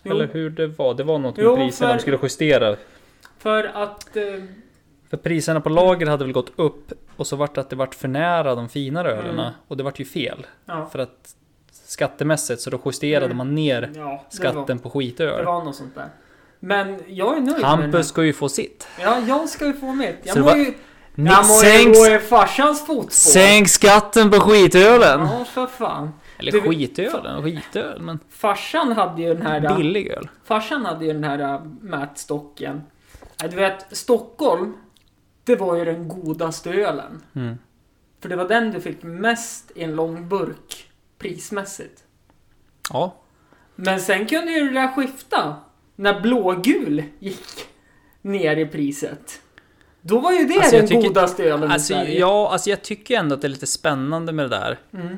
[SPEAKER 1] Jo,
[SPEAKER 2] Eller hur det var? Det var något med
[SPEAKER 1] Jo,
[SPEAKER 2] priserna
[SPEAKER 1] för-
[SPEAKER 2] de skulle justera.
[SPEAKER 1] för att... Eh,
[SPEAKER 2] För priserna på lager hade väl gått upp och så vart det att det vart för nära de finare ölerna.
[SPEAKER 1] Mm.
[SPEAKER 2] Och det vart ju fel.
[SPEAKER 1] ja.
[SPEAKER 2] För att skattemässigt så då justerade
[SPEAKER 1] Mm.
[SPEAKER 2] man ner
[SPEAKER 1] ja, det var-
[SPEAKER 2] skatten på
[SPEAKER 1] Det
[SPEAKER 2] skitöl.
[SPEAKER 1] var något sånt där. Men jag är nöjd med
[SPEAKER 2] Hampus
[SPEAKER 1] den.
[SPEAKER 2] ska ju få sitt.
[SPEAKER 1] Ja, jag ska ju få mitt. Jag
[SPEAKER 2] Så det
[SPEAKER 1] mår
[SPEAKER 2] var-
[SPEAKER 1] ju...
[SPEAKER 2] Ni-
[SPEAKER 1] Jag mår ju
[SPEAKER 2] sänks-
[SPEAKER 1] gå i farsans fotspår.
[SPEAKER 2] Sänk skatten på skitölen!
[SPEAKER 1] Ja, för fan.
[SPEAKER 2] Eller
[SPEAKER 1] Du-
[SPEAKER 2] skitölen, skitöl, men
[SPEAKER 1] Farsan hade ju den här...
[SPEAKER 2] billig öl.
[SPEAKER 1] Farsan hade ju den här äh, mätstocken. Äh, Du vet, Stockholm, det var ju den godaste ölen.
[SPEAKER 2] Mm.
[SPEAKER 1] För det var den du fick mest i en lång burk, prismässigt.
[SPEAKER 2] Ja,
[SPEAKER 1] Men sen kunde ju det där skifta. När blågul gick. ner i priset. Då var ju det
[SPEAKER 2] Alltså, jag
[SPEAKER 1] den
[SPEAKER 2] tycker-
[SPEAKER 1] godaste ölen i
[SPEAKER 2] Alltså,
[SPEAKER 1] Sverige.
[SPEAKER 2] ja, alltså jag tycker ändå att det är lite spännande med det där.
[SPEAKER 1] Mm.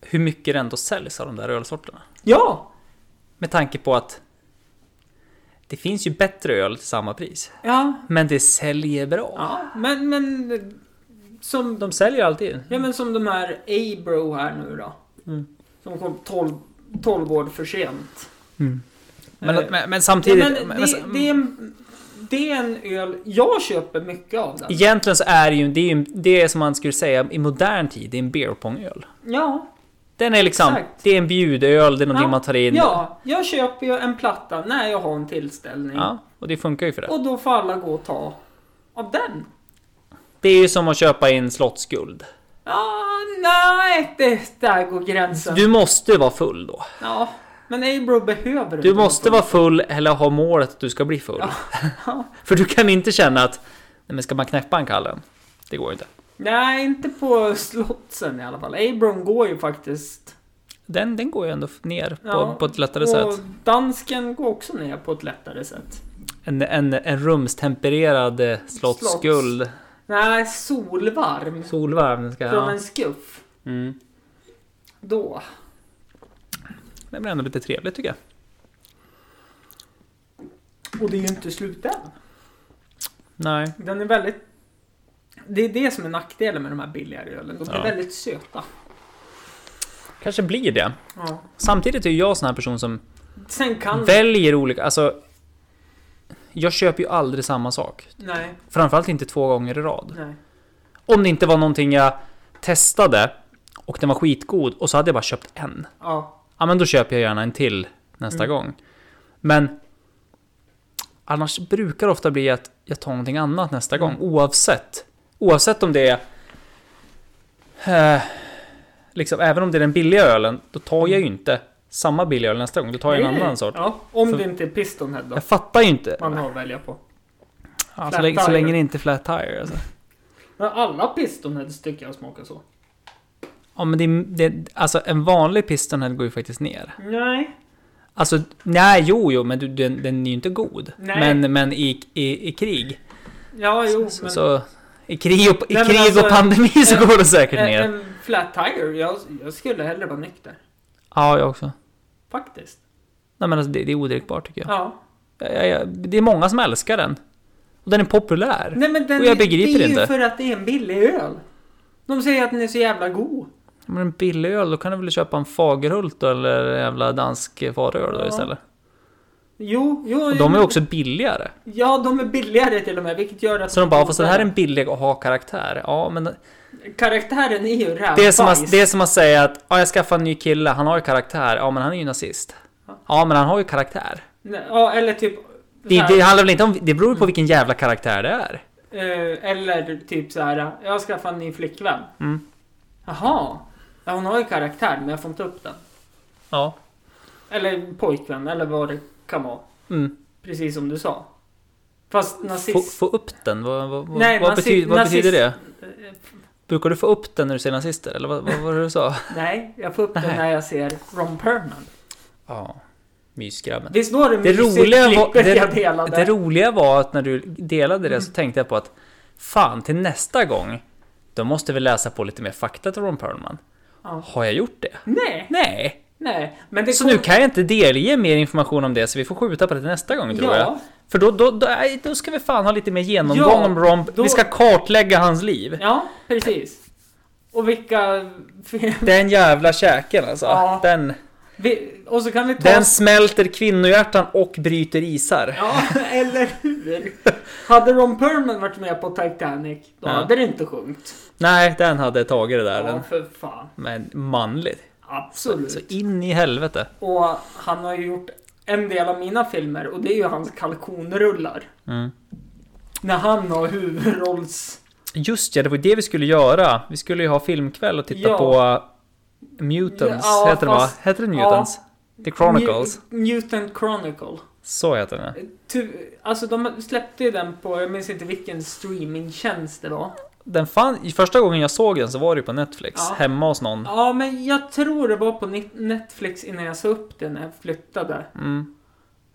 [SPEAKER 2] Hur mycket det ändå säljs av de där ölsorterna.
[SPEAKER 1] Ja!
[SPEAKER 2] Med tanke på att det finns ju bättre öl till samma pris.
[SPEAKER 1] Ja,
[SPEAKER 2] Men det säljer bra.
[SPEAKER 1] ja. Men, men... eh, Som
[SPEAKER 2] De säljer alltid.
[SPEAKER 1] Ja men som de här A-Bro här nu då.
[SPEAKER 2] Mm.
[SPEAKER 1] Som kom 12, 12 år för sent.
[SPEAKER 2] Men,
[SPEAKER 1] Eh,
[SPEAKER 2] men, men
[SPEAKER 1] Ja,
[SPEAKER 2] samtidigt...
[SPEAKER 1] men
[SPEAKER 2] men- alltså,
[SPEAKER 1] det, det, är en, det är en öl, jag köper mycket av den.
[SPEAKER 2] Egentligen så är det ju, det är ju det är som man skulle säga i modern tid, det är en beer pong-öl.
[SPEAKER 1] Ja,
[SPEAKER 2] Den är liksom,
[SPEAKER 1] Exakt.
[SPEAKER 2] det är en bjudöl, det är någonting
[SPEAKER 1] Ja,
[SPEAKER 2] man tar in.
[SPEAKER 1] ja, jag köper ju en platta när jag har en tillställning.
[SPEAKER 2] Ja, och det funkar ju för det.
[SPEAKER 1] Och då får alla gå och ta av den.
[SPEAKER 2] Det är ju som att köpa in slottsguld.
[SPEAKER 1] Ja, nej, det, där går gränsen.
[SPEAKER 2] Du måste vara full då.
[SPEAKER 1] Ja, men A-Bro behöver
[SPEAKER 2] Du
[SPEAKER 1] inte
[SPEAKER 2] måste vara full eller ha målet att du ska bli full.
[SPEAKER 1] Ja.
[SPEAKER 2] För du kan inte känna att, nej men ska man knäppa en kallen? Det går ju inte.
[SPEAKER 1] Nej, inte på slottsen i alla fall. A-Bron går ju faktiskt
[SPEAKER 2] Den, den går ju ändå ner på,
[SPEAKER 1] Ja,
[SPEAKER 2] på ett lättare
[SPEAKER 1] och
[SPEAKER 2] sätt.
[SPEAKER 1] dansken går också ner på ett lättare sätt.
[SPEAKER 2] En, en, en rumstempererad eh, slottsguld.
[SPEAKER 1] Nej, solvarm
[SPEAKER 2] Solvarm ska
[SPEAKER 1] från
[SPEAKER 2] jag...
[SPEAKER 1] en skuff.
[SPEAKER 2] Mm.
[SPEAKER 1] Då.
[SPEAKER 2] Det blir ändå lite trevligt tycker jag.
[SPEAKER 1] Och det är ju inte slut än.
[SPEAKER 2] Nej.
[SPEAKER 1] Den är väldigt... Det är det som är nackdelen med de här billigare ölen. De är
[SPEAKER 2] Ja.
[SPEAKER 1] väldigt söta.
[SPEAKER 2] Kanske blir det.
[SPEAKER 1] Ja.
[SPEAKER 2] Samtidigt är ju jag sån här person som
[SPEAKER 1] Sen kan...
[SPEAKER 2] väljer olika, alltså... Jag köper ju aldrig samma sak.
[SPEAKER 1] nej,
[SPEAKER 2] Framförallt inte två gånger i rad.
[SPEAKER 1] nej.
[SPEAKER 2] Om det inte var någonting jag testade och den var skitgod och så hade jag bara köpt en.
[SPEAKER 1] Ja.
[SPEAKER 2] Ja men då köper jag gärna en till nästa
[SPEAKER 1] Mm.
[SPEAKER 2] gång. Men annars brukar det ofta bli att jag tar någonting annat nästa gång
[SPEAKER 1] Mm.
[SPEAKER 2] oavsett. Oavsett om det är... Eh, liksom, även om det är den billiga ölen, då tar jag ju inte samma billiga öl nästa gång. Då tar jag en
[SPEAKER 1] Mm. Nej,
[SPEAKER 2] annan sort.
[SPEAKER 1] Ja, om
[SPEAKER 2] Så-
[SPEAKER 1] det inte är Pistonhead då.
[SPEAKER 2] Jag fattar ju inte.
[SPEAKER 1] Man har att välja på.
[SPEAKER 2] Ja, så,
[SPEAKER 1] flat
[SPEAKER 2] länge, så
[SPEAKER 1] tire.
[SPEAKER 2] länge det inte är flat tire alltså.
[SPEAKER 1] Men alla Pistonheads tycker jag smakar så.
[SPEAKER 2] Ja men det, är- det, alltså en vanlig pistonhead går ju faktiskt ner.
[SPEAKER 1] Nej.
[SPEAKER 2] Alltså, nej jo jo men du, den, den är ju inte god.
[SPEAKER 1] Nej.
[SPEAKER 2] Men, men i, i, i krig.
[SPEAKER 1] Ja, jo,
[SPEAKER 2] Så,
[SPEAKER 1] men...
[SPEAKER 2] så i krig och, i
[SPEAKER 1] Nej, men
[SPEAKER 2] krig
[SPEAKER 1] alltså,
[SPEAKER 2] och pandemi så
[SPEAKER 1] en-
[SPEAKER 2] går det säkert
[SPEAKER 1] En,
[SPEAKER 2] ner.
[SPEAKER 1] en flat tire, jag, jag skulle hellre vara nykter.
[SPEAKER 2] Ja, jag också.
[SPEAKER 1] Faktiskt.
[SPEAKER 2] Nej men alltså, det, det är odrickbart tycker jag.
[SPEAKER 1] Ja.
[SPEAKER 2] Jag, jag, jag. Det är många som älskar den. Och den är populär.
[SPEAKER 1] Nej men den
[SPEAKER 2] Och jag
[SPEAKER 1] är-
[SPEAKER 2] begriper
[SPEAKER 1] det är
[SPEAKER 2] inte.
[SPEAKER 1] ju för att det är en billig öl. De säger att den är så jävla god.
[SPEAKER 2] Om det är en billig öl, då kan du väl köpa en Fagerhult eller en jävla dansk faröl då
[SPEAKER 1] Ja.
[SPEAKER 2] istället.
[SPEAKER 1] Jo, jo.
[SPEAKER 2] Och de är också billigare.
[SPEAKER 1] Ja, de är billigare till och med, vilket gör att...
[SPEAKER 2] Så de bara, fast det här är en billig och ha karaktär. Ja, men
[SPEAKER 1] Karaktären är ju rävbajs.
[SPEAKER 2] det är som att, det är som att säga att ja, jag skaffar en ny kille, han har ju karaktär. Ja, men han är ju nazist. Ja, men han har ju karaktär.
[SPEAKER 1] Nej, Ja, eller typ...
[SPEAKER 2] Det,
[SPEAKER 1] så här,
[SPEAKER 2] det handlar väl inte om... Det
[SPEAKER 1] Mm.
[SPEAKER 2] beror ju på vilken jävla karaktär det är.
[SPEAKER 1] eh, eller typ så här, jag ska en ny flickvän.
[SPEAKER 2] Mm.
[SPEAKER 1] Jaha. Ja, hon har ju karaktär, men jag får inte upp den.
[SPEAKER 2] Ja.
[SPEAKER 1] Eller pojkvän, eller vad det kan vara.
[SPEAKER 2] Mm.
[SPEAKER 1] Precis som du sa. Fast
[SPEAKER 2] Få,
[SPEAKER 1] nazist...
[SPEAKER 2] få upp den? Vad, vad, vad-
[SPEAKER 1] Nej,
[SPEAKER 2] vad,
[SPEAKER 1] nazi-
[SPEAKER 2] betyder, vad
[SPEAKER 1] nazist-
[SPEAKER 2] betyder det?
[SPEAKER 1] Eh,
[SPEAKER 2] Brukar du få upp den när du ser nazister? Eller vad, vad var det du sa?
[SPEAKER 1] Nej, jag får upp den
[SPEAKER 2] Nej.
[SPEAKER 1] när jag ser Ron Perlman.
[SPEAKER 2] Ja. Mysgrabben.
[SPEAKER 1] Visst var det
[SPEAKER 2] Det
[SPEAKER 1] mysigt
[SPEAKER 2] roliga, var,
[SPEAKER 1] klippet jag Mm.
[SPEAKER 2] det,
[SPEAKER 1] delade?
[SPEAKER 2] det roliga var att när du delade det så tänkte jag på att fan, till nästa gång då måste vi läsa på lite mer fakta till Ron Perlman.
[SPEAKER 1] Ja.
[SPEAKER 2] Har jag gjort det?
[SPEAKER 1] Nej,
[SPEAKER 2] Nej.
[SPEAKER 1] nej. Men det
[SPEAKER 2] Så
[SPEAKER 1] kom-
[SPEAKER 2] nu kan jag inte delge mer information om det så vi får skjuta på det till nästa gång tror
[SPEAKER 1] Ja.
[SPEAKER 2] jag. För då, då, då, nej, då ska vi fan ha lite mer genomgång
[SPEAKER 1] Ja,
[SPEAKER 2] om Ron.
[SPEAKER 1] då-
[SPEAKER 2] Vi ska kartlägga hans liv.
[SPEAKER 1] Ja, precis. Och vilka...
[SPEAKER 2] Den jävla käken alltså.
[SPEAKER 1] Ja.
[SPEAKER 2] Den,
[SPEAKER 1] vi- Och så kan vi ta...
[SPEAKER 2] den smälter kvinnohjärtan och bryter isar.
[SPEAKER 1] Ja, eller hur? Hade Ron Perlman varit med på Titanic, då
[SPEAKER 2] Ja.
[SPEAKER 1] hade det inte sjunkit.
[SPEAKER 2] Nej, den hade tagit det där.
[SPEAKER 1] Ja,
[SPEAKER 2] Den.
[SPEAKER 1] för fan.
[SPEAKER 2] Men manligt.
[SPEAKER 1] Absolut.
[SPEAKER 2] Så in i helvete.
[SPEAKER 1] Och han har ju gjort en del av mina filmer och det är ju hans kalkonrullar.
[SPEAKER 2] Mm.
[SPEAKER 1] När han har huvudrolls...
[SPEAKER 2] Just ja, det var ju det vi skulle göra. Vi skulle ju ha filmkväll och titta
[SPEAKER 1] Ja.
[SPEAKER 2] på Mutants.
[SPEAKER 1] Ja,
[SPEAKER 2] heter, den, va?
[SPEAKER 1] fast-
[SPEAKER 2] heter den Mutants? The Chronicles.
[SPEAKER 1] Mu- Mutant Chronicle.
[SPEAKER 2] Så heter den. ja.
[SPEAKER 1] Tu, alltså de släppte ju den på, jag minns inte vilken streamingtjänst det var.
[SPEAKER 2] den fan, i första gången jag såg den så var det ju på Netflix.
[SPEAKER 1] Ja.
[SPEAKER 2] Hemma hos någon.
[SPEAKER 1] Ja, men jag tror det var på Net- Netflix innan jag sa upp den när jag flyttade.
[SPEAKER 2] Mm.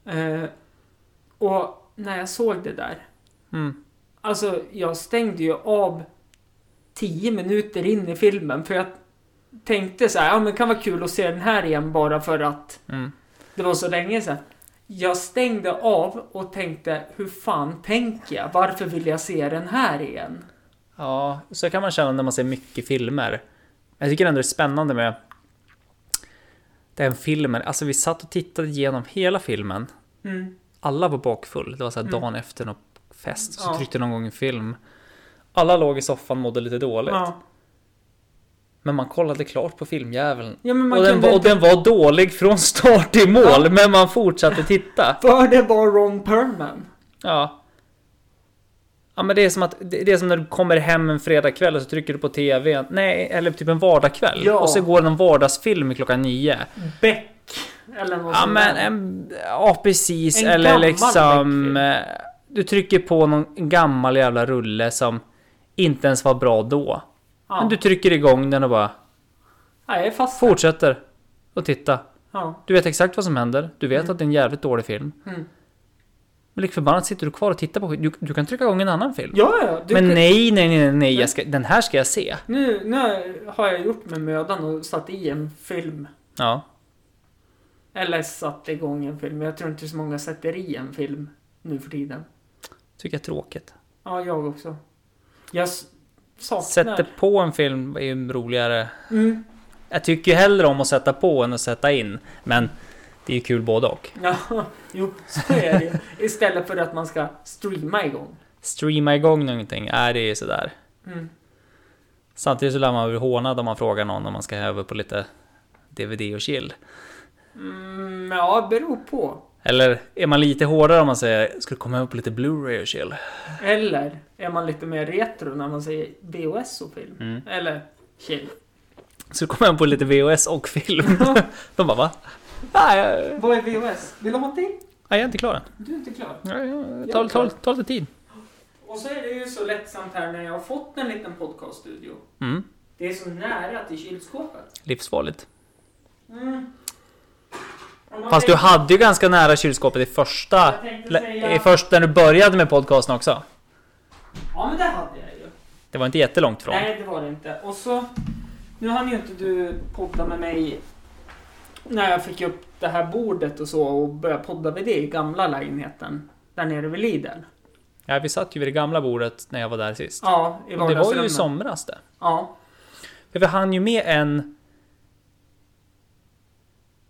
[SPEAKER 1] Eh, och när jag såg det där.
[SPEAKER 2] Mm.
[SPEAKER 1] Alltså, jag stängde ju av tio minuter in i filmen för jag tänkte så här, ja men det kan vara kul att se den här igen bara för att
[SPEAKER 2] Mm.
[SPEAKER 1] det var så länge sedan. Jag stängde av och tänkte, hur fan tänker jag? Varför vill jag se den här igen?
[SPEAKER 2] Ja, så kan man känna när man ser mycket filmer. Jag tycker ändå det är spännande med den filmen. Alltså vi satt och tittade igenom hela filmen.
[SPEAKER 1] Mm.
[SPEAKER 2] Alla var bakfull. Det var så här dagen efter någon fest. Så
[SPEAKER 1] Ja.
[SPEAKER 2] tryckte någon gång en film. Alla låg i soffan mådde lite dåligt.
[SPEAKER 1] Ja.
[SPEAKER 2] Men man kollade klart på filmjäveln.
[SPEAKER 1] ja, men man
[SPEAKER 2] Och den,
[SPEAKER 1] kunde
[SPEAKER 2] var, och
[SPEAKER 1] inte...
[SPEAKER 2] den var dålig från *laughs* start till mål. Men man
[SPEAKER 1] *laughs*
[SPEAKER 2] fortsatte titta.
[SPEAKER 1] För det var Ron Perlman.
[SPEAKER 2] Ja. Ja men det är som att det det är som när du kommer hem en fredagkväll och så trycker du på TV. Nej, eller typ en vardagkväll.
[SPEAKER 1] Ja.
[SPEAKER 2] Och så går det en vardagsfilm klockan nio.
[SPEAKER 1] Beck. Eller något
[SPEAKER 2] Ja
[SPEAKER 1] sånt
[SPEAKER 2] men, eh,
[SPEAKER 1] där.
[SPEAKER 2] en, ja precis.
[SPEAKER 1] Mm. En
[SPEAKER 2] eller
[SPEAKER 1] gammal
[SPEAKER 2] liksom...
[SPEAKER 1] Beck-film.
[SPEAKER 2] eh, Du trycker på någon gammal jävla rulle som inte ens var bra då.
[SPEAKER 1] Ja.
[SPEAKER 2] Men du trycker igång den och bara
[SPEAKER 1] ja, jag är fast.
[SPEAKER 2] fortsätter och titta.
[SPEAKER 1] Ja.
[SPEAKER 2] Du vet exakt vad som händer. Du vet att det är en jävligt dålig film.
[SPEAKER 1] Mm.
[SPEAKER 2] Men lik förbannat sitter du kvar och tittar på skit. Du, du kan trycka igång en annan film.
[SPEAKER 1] Ja, ja. Du,
[SPEAKER 2] Men
[SPEAKER 1] kan-
[SPEAKER 2] nej, nej, nej, nej, jag ska, den här ska jag se.
[SPEAKER 1] Nu, nu har jag gjort mig mödan och satt i en film.
[SPEAKER 2] Ja.
[SPEAKER 1] Eller satt igång en film. Jag tror inte så många sätter i en film nu för tiden.
[SPEAKER 2] Tycker jag är tråkigt.
[SPEAKER 1] Ja, jag också. Jag s- saknar...
[SPEAKER 2] Sätta på en film är ju roligare.
[SPEAKER 1] Mm.
[SPEAKER 2] Jag tycker ju hellre om att sätta på än att sätta in. Men det är ju kul både och.
[SPEAKER 1] Ja, *laughs* jo, så är det ju. Istället för att man ska streama igång.
[SPEAKER 2] Streama igång någonting, nej det är ju sådär.
[SPEAKER 1] Mm.
[SPEAKER 2] Samtidigt så lär man bli hånad om man frågar någon om man ska över på lite DVD och chill.
[SPEAKER 1] Mm, ja, beror på.
[SPEAKER 2] Eller är man lite hårdare om man säger ska du komma över på lite Blu-ray och chill? *laughs*
[SPEAKER 1] Eller är man lite mer retro när man säger VHS och film?
[SPEAKER 2] Mm.
[SPEAKER 1] Eller chill.
[SPEAKER 2] Ska du komma över på lite VHS
[SPEAKER 1] *laughs*
[SPEAKER 2] och film? De bara va? Nej, jag-
[SPEAKER 1] Vad är VHS? Vill du ha en till?
[SPEAKER 2] jag är inte klar än.
[SPEAKER 1] Du är inte klar.
[SPEAKER 2] Nej, jag- Ta, ta, ta lite tid.
[SPEAKER 1] Och så är det ju så lättsamt här när jag har fått en liten podcaststudio.
[SPEAKER 2] Mm.
[SPEAKER 1] Det är så nära till kylskåpet.
[SPEAKER 2] Livsfarligt.
[SPEAKER 1] Mm. Om man
[SPEAKER 2] Fast du
[SPEAKER 1] tänker-
[SPEAKER 2] hade ju ganska nära kylskåpet i första...
[SPEAKER 1] Jag tänkte säga-
[SPEAKER 2] I första när du började med podcasten också.
[SPEAKER 1] Ja, men det hade jag ju.
[SPEAKER 2] Det var inte jättelångt från.
[SPEAKER 1] Nej, det var det inte. Och så... Nu hann ju inte du podda med mig när jag fick upp det här bordet och så och började podda vid det i gamla lägenheten. Där nere vid Lidl.
[SPEAKER 2] Ja, vi satt ju vid det gamla bordet när jag var där sist.
[SPEAKER 1] Ja, i
[SPEAKER 2] Och det var ju i
[SPEAKER 1] vardagsrummet.
[SPEAKER 2] somras det.
[SPEAKER 1] Ja.
[SPEAKER 2] För vi hann ju med en...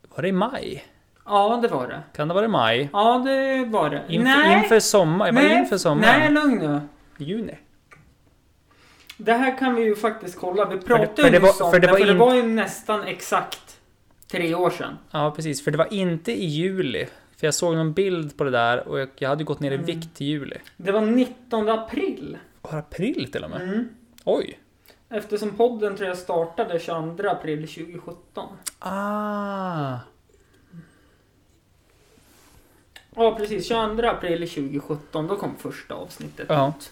[SPEAKER 2] Var det i maj?
[SPEAKER 1] ja, det var det.
[SPEAKER 2] Kan det vara i maj?
[SPEAKER 1] Ja, det var det.
[SPEAKER 2] Inför,
[SPEAKER 1] nej,
[SPEAKER 2] inför sommar? Var det
[SPEAKER 1] nej,
[SPEAKER 2] inför sommaren?
[SPEAKER 1] nej, lugn nu.
[SPEAKER 2] Juni?
[SPEAKER 1] Det här kan vi ju faktiskt kolla. Vi
[SPEAKER 2] det-
[SPEAKER 1] pratade
[SPEAKER 2] för det
[SPEAKER 1] ju
[SPEAKER 2] var-
[SPEAKER 1] nyss om
[SPEAKER 2] för
[SPEAKER 1] det,
[SPEAKER 2] det var
[SPEAKER 1] för
[SPEAKER 2] in-
[SPEAKER 1] det var ju nästan exakt tre år sedan.
[SPEAKER 2] Ja, precis. För det var inte i juli. För jag såg någon bild på det där och jag, jag hade ju gått ner
[SPEAKER 1] Mm.
[SPEAKER 2] i vikt i juli.
[SPEAKER 1] Det var 19 april.
[SPEAKER 2] Och april till och med?
[SPEAKER 1] Mm.
[SPEAKER 2] Oj!
[SPEAKER 1] Eftersom podden tror jag startade 22 april 2017.
[SPEAKER 2] Ah!
[SPEAKER 1] Ja, precis. 22 april 2017, då kom första avsnittet
[SPEAKER 2] Ja.
[SPEAKER 1] ut.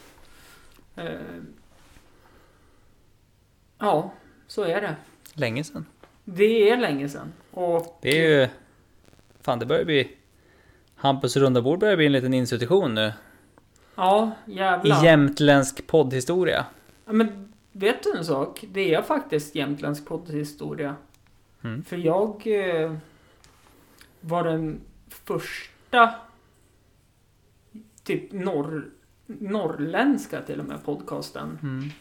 [SPEAKER 1] Eh, ja, så är det.
[SPEAKER 2] Länge sedan.
[SPEAKER 1] Det är länge sedan. Och
[SPEAKER 2] Det är ju... Fan, det börjar bli... Hampus runda bord börjar bli en liten institution nu.
[SPEAKER 1] ja,
[SPEAKER 2] I
[SPEAKER 1] jävlar.
[SPEAKER 2] jämtländsk poddhistoria.
[SPEAKER 1] Ja, men vet du en sak? Det är faktiskt jämtländsk poddhistoria.
[SPEAKER 2] Mm.
[SPEAKER 1] För jag eh, var den första typ norr, norrländska till och med podcasten
[SPEAKER 2] Mm.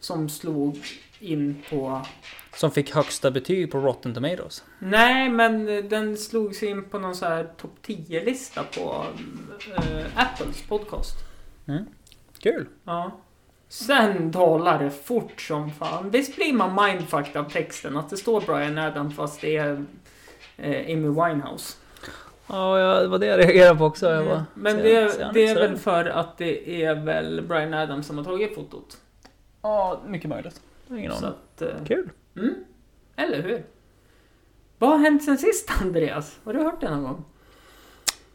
[SPEAKER 1] som slog in på...
[SPEAKER 2] Som fick högsta betyg på Rotten Tomatoes.
[SPEAKER 1] Nej, men den slog sig in på någon så här topp 10-lista på eh, Apples podcast.
[SPEAKER 2] Kul!
[SPEAKER 1] Ja. Sen talar det fort som fan. Visst blir man mindfucked av texten? Att det står Brian Adam fast det är eh, Amy Winehouse. Mm.
[SPEAKER 2] Ja, ja, det var det jag reagerade på också. Jag bara,
[SPEAKER 1] Men
[SPEAKER 2] ser-
[SPEAKER 1] det,
[SPEAKER 2] ser
[SPEAKER 1] är,
[SPEAKER 2] han-
[SPEAKER 1] det är
[SPEAKER 2] ser
[SPEAKER 1] väl
[SPEAKER 2] han?
[SPEAKER 1] för att det är väl Brian Adam som har tagit fotot.
[SPEAKER 2] Ja, mycket möjligt. Jag har Ingen
[SPEAKER 1] Så
[SPEAKER 2] aning.
[SPEAKER 1] att, eh,
[SPEAKER 2] Kul!
[SPEAKER 1] mm, eller hur? Vad har hänt sen sist *laughs* Andreas? Har du hört det någon gång?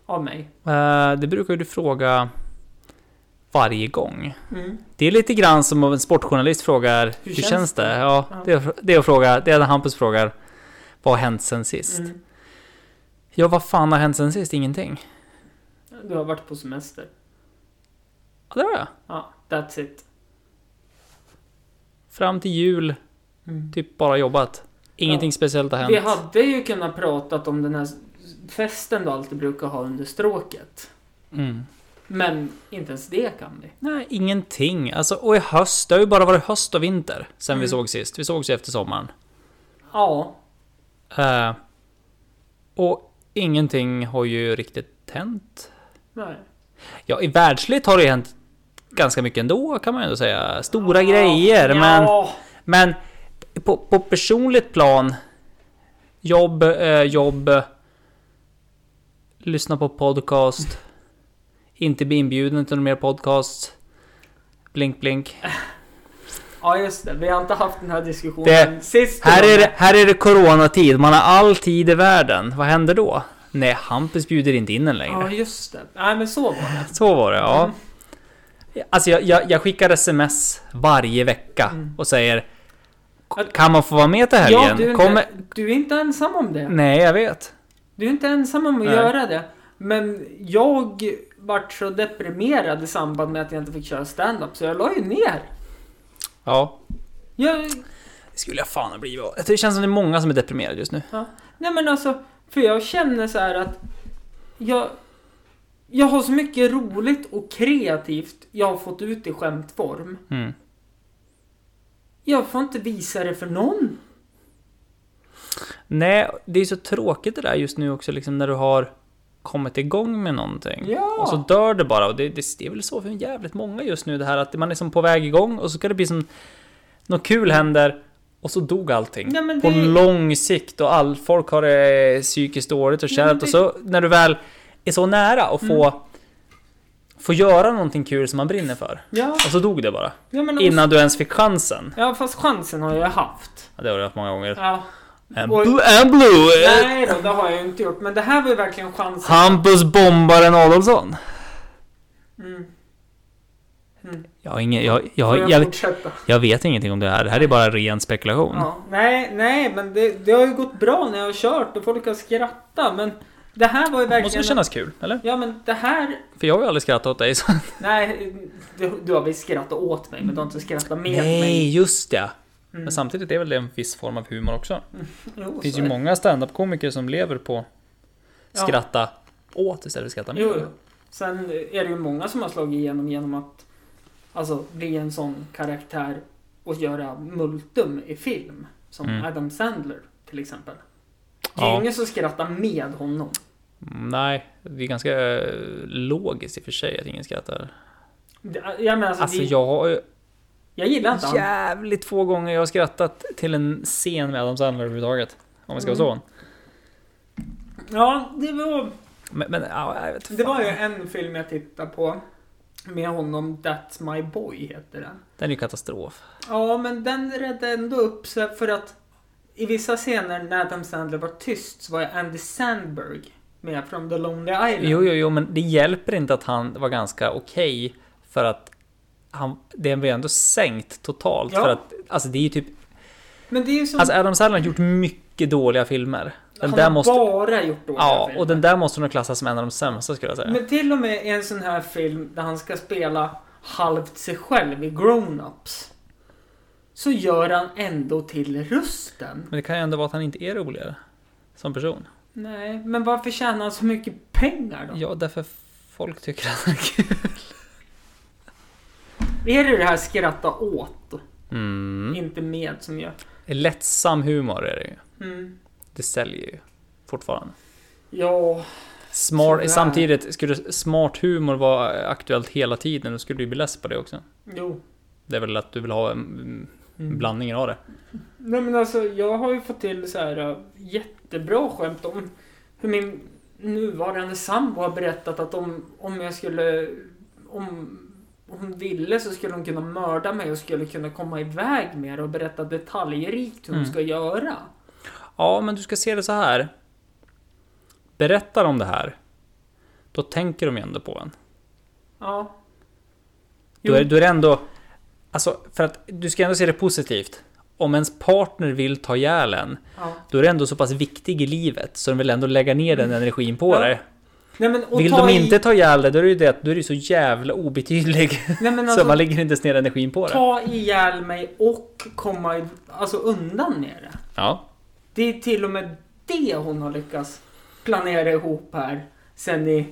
[SPEAKER 1] Av mig?
[SPEAKER 2] Eh, det brukar ju du fråga varje gång.
[SPEAKER 1] Mm.
[SPEAKER 2] Det är lite grann som om en sportjournalist frågar Hur, känns,
[SPEAKER 1] känns
[SPEAKER 2] det?
[SPEAKER 1] det?
[SPEAKER 2] Ja,
[SPEAKER 1] Ja.
[SPEAKER 2] Det, är, det är att fråga, det är när Hampus frågar Vad har hänt sen sist?
[SPEAKER 1] Mm.
[SPEAKER 2] Ja, vad fan har hänt sen sist? Ingenting.
[SPEAKER 1] du har varit på semester.
[SPEAKER 2] Ja, det har jag.
[SPEAKER 1] Ja, that's it.
[SPEAKER 2] Fram till jul, typ bara jobbat. Ingenting
[SPEAKER 1] Mm. Ja.
[SPEAKER 2] speciellt har hänt.
[SPEAKER 1] Vi hade ju kunnat prata om den här festen du alltid brukar ha under stråket.
[SPEAKER 2] Mm.
[SPEAKER 1] Men inte ens det kan vi.
[SPEAKER 2] Nej, ingenting. Alltså, och i höst, det har ju bara varit höst och vinter sen vi
[SPEAKER 1] Mm.
[SPEAKER 2] såg sist. Vi sågs ju efter sommaren.
[SPEAKER 1] Ja,
[SPEAKER 2] Eh, och ingenting har ju riktigt hänt.
[SPEAKER 1] nej.
[SPEAKER 2] Ja, i världsligt har det ju hänt ganska mycket ändå kan man ju ändå säga. Stora grejer,
[SPEAKER 1] ja.
[SPEAKER 2] men... Men på, på personligt plan Jobb, eh, jobb eh, Lyssna på podcast Inte bli inbjuden till någon mer podcast Blink blink
[SPEAKER 1] Ja, just det. Vi har inte haft den här diskussionen
[SPEAKER 2] Det-
[SPEAKER 1] sist.
[SPEAKER 2] här är, det, här är det coronatid, man har all tid i världen Vad händer då? Nej, Hampus bjuder inte in en längre
[SPEAKER 1] Ja, just det. Nej, men så var det.
[SPEAKER 2] Så var det, ja
[SPEAKER 1] Mm.
[SPEAKER 2] Alltså jag, jag, jag skickar sms varje vecka och säger Kan man få vara med till helgen?
[SPEAKER 1] Mm. Ja, du är, inte,
[SPEAKER 2] Kommer...
[SPEAKER 1] du är inte ensam om det.
[SPEAKER 2] Nej, jag vet
[SPEAKER 1] Du är inte ensam om att
[SPEAKER 2] Nej.
[SPEAKER 1] göra det. Men jag vart så deprimerad i samband med att jag inte fick köra stand-up så jag la ju ner.
[SPEAKER 2] Ja,
[SPEAKER 1] Jag,
[SPEAKER 2] Det skulle jag fan ha blivit av. Det känns som det är många som är deprimerade just nu.
[SPEAKER 1] ja. Nej men alltså, för jag känner så här att jag, jag har så mycket roligt och kreativt jag har fått ut i skämtform.
[SPEAKER 2] Mm.
[SPEAKER 1] Jag får inte visa det för någon.
[SPEAKER 2] Nej, det är så tråkigt det där just nu också liksom när du har kommit igång med någonting.
[SPEAKER 1] Ja.
[SPEAKER 2] Och så dör det bara och det, det, det är väl så för jävligt många just nu det här att man är som på väg igång och så ska det bli som... Något kul händer och så dog allting.
[SPEAKER 1] Nej, men
[SPEAKER 2] På
[SPEAKER 1] det-
[SPEAKER 2] lång sikt och all, folk har det psykiskt dåligt och
[SPEAKER 1] Nej, men
[SPEAKER 2] kärvt och
[SPEAKER 1] det- Mm.
[SPEAKER 2] så när du väl är så nära att få... Få göra någonting kul som man brinner för.
[SPEAKER 1] Ja,
[SPEAKER 2] Och så dog det bara.
[SPEAKER 1] ja men alltså,
[SPEAKER 2] Innan du ens fick chansen.
[SPEAKER 1] Ja fast chansen har jag haft.
[SPEAKER 2] Ja, det har du haft många gånger.
[SPEAKER 1] Ja.
[SPEAKER 2] En
[SPEAKER 1] Oj.
[SPEAKER 2] blue, en blue. eh,
[SPEAKER 1] Nej då, det har jag ju inte gjort. Men det här var ju verkligen chansen.
[SPEAKER 2] Hampus bombaren Adolfsson.
[SPEAKER 1] Mm.
[SPEAKER 2] Jag, har ingen, jag, jag,
[SPEAKER 1] Får
[SPEAKER 2] har-
[SPEAKER 1] jag,
[SPEAKER 2] jag,
[SPEAKER 1] fortsätta?
[SPEAKER 2] jag vet ingenting om det här. Det här är bara ren spekulation.
[SPEAKER 1] Ja, nej, nej, men det, det har ju gått bra när jag har kört och folk har skrattat. Men det här var ju
[SPEAKER 2] det
[SPEAKER 1] verkligen...
[SPEAKER 2] måste väl kännas kul, eller?
[SPEAKER 1] Ja, men det här...
[SPEAKER 2] För jag har ju aldrig skrattat åt
[SPEAKER 1] *laughs*
[SPEAKER 2] dig. Så.
[SPEAKER 1] Nej, du, du har väl skrattat åt mig, men du har inte skrattat med mig.
[SPEAKER 2] Nej, just det.
[SPEAKER 1] Mm.
[SPEAKER 2] Men samtidigt är väl det en viss form av humor också.
[SPEAKER 1] Jo,
[SPEAKER 2] Det finns
[SPEAKER 1] så
[SPEAKER 2] ju
[SPEAKER 1] är-
[SPEAKER 2] många standup-komiker som lever på
[SPEAKER 1] Ja.
[SPEAKER 2] skratta åt istället för skratta med.
[SPEAKER 1] Jo, jo. Sen är det ju många som har slagit igenom genom att alltså, bli en sån karaktär och göra multum i film. Som
[SPEAKER 2] Mm.
[SPEAKER 1] Adam Sandler till exempel. Det är ju
[SPEAKER 2] Ja.
[SPEAKER 1] ingen som skrattar med honom.
[SPEAKER 2] Mm, Nej, det är ganska eh, logiskt i och för sig att ingen skrattar.
[SPEAKER 1] Alltså, Det- Jag menar alltså,
[SPEAKER 2] Alltså
[SPEAKER 1] det,
[SPEAKER 2] jag har ju
[SPEAKER 1] jag gillar inte han.
[SPEAKER 2] Jävligt få gånger jag har skrattat till en scen med Adam Sandler överhuvudtaget. Om vi ska vara så.
[SPEAKER 1] Ja, det var...
[SPEAKER 2] Men, men ja, jag vet fan.
[SPEAKER 1] Det var ju en film jag tittade på med honom, That's My Boy heter den.
[SPEAKER 2] Den är ju katastrof.
[SPEAKER 1] Ja, men den räddade ändå upp sig för att i vissa scener när Adam Sandler var tyst så var ju Andy Sandberg med från The Lonely Island.
[SPEAKER 2] Jo, jo, jo, men det hjälper inte att han var ganska okej. för att han, det blev ändå sänkt totalt.
[SPEAKER 1] Ja.
[SPEAKER 2] För att, alltså det är ju typ...
[SPEAKER 1] Men det är ju som...
[SPEAKER 2] Alltså Adam Sandler har gjort mycket dåliga filmer. Den
[SPEAKER 1] han
[SPEAKER 2] där
[SPEAKER 1] har
[SPEAKER 2] måste...
[SPEAKER 1] bara gjort dåliga
[SPEAKER 2] Ja,
[SPEAKER 1] filmer.
[SPEAKER 2] och den där måste nog klassas som en av de sämsta skulle jag säga.
[SPEAKER 1] Men till och med i en sån här film där han ska spela halvt sig själv i grown-ups. Så gör han ändå till rösten.
[SPEAKER 2] Men det kan ju ändå vara att han inte är roligare. Som person.
[SPEAKER 1] Nej, men varför tjänar han så mycket pengar då?
[SPEAKER 2] Ja, därför folk tycker att han är kul.
[SPEAKER 1] Är det det här skratta åt,
[SPEAKER 2] Mm.
[SPEAKER 1] inte med, som gör...
[SPEAKER 2] Lättsam humor är det ju.
[SPEAKER 1] Mm.
[SPEAKER 2] Det säljer ju fortfarande.
[SPEAKER 1] Ja, Tyvärr.
[SPEAKER 2] Smart, samtidigt, skulle smart humor vara aktuellt hela tiden, då skulle du ju bli less på det också.
[SPEAKER 1] jo.
[SPEAKER 2] Det är väl att du vill ha en
[SPEAKER 1] Mm.
[SPEAKER 2] blandning av det.
[SPEAKER 1] Nej men alltså, jag har ju fått till så här äh, jättebra skämt om hur min nuvarande sambo har berättat att om, om jag skulle... Om hon ville så skulle hon kunna mörda mig och skulle kunna komma iväg med det och berätta detaljrikt hur hon
[SPEAKER 2] Mm.
[SPEAKER 1] ska göra.
[SPEAKER 2] Ja, men du ska se det så här. Berättar de det här, då tänker de ju ändå på en.
[SPEAKER 1] Ja. Jo.
[SPEAKER 2] Då är, då är det ändå... Alltså, för att du ska ändå se det positivt. Om ens partner vill ta ihjäl en,
[SPEAKER 1] ja.
[SPEAKER 2] då är det ändå så pass viktig i livet så de vill ändå lägga ner den energin på
[SPEAKER 1] Mm. Ja.
[SPEAKER 2] dig.
[SPEAKER 1] Nej, men, och
[SPEAKER 2] Vill
[SPEAKER 1] ta
[SPEAKER 2] de
[SPEAKER 1] i-
[SPEAKER 2] inte ta ihjäl det, då är det ju det att du är du så jävla obetydlig.
[SPEAKER 1] Nej, men
[SPEAKER 2] så
[SPEAKER 1] alltså,
[SPEAKER 2] man lägger inte ner energin på det.
[SPEAKER 1] ta ihjäl mig och komma i, alltså, undan med det.
[SPEAKER 2] Ja.
[SPEAKER 1] Det är till och med det hon har lyckats planera ihop här sen i...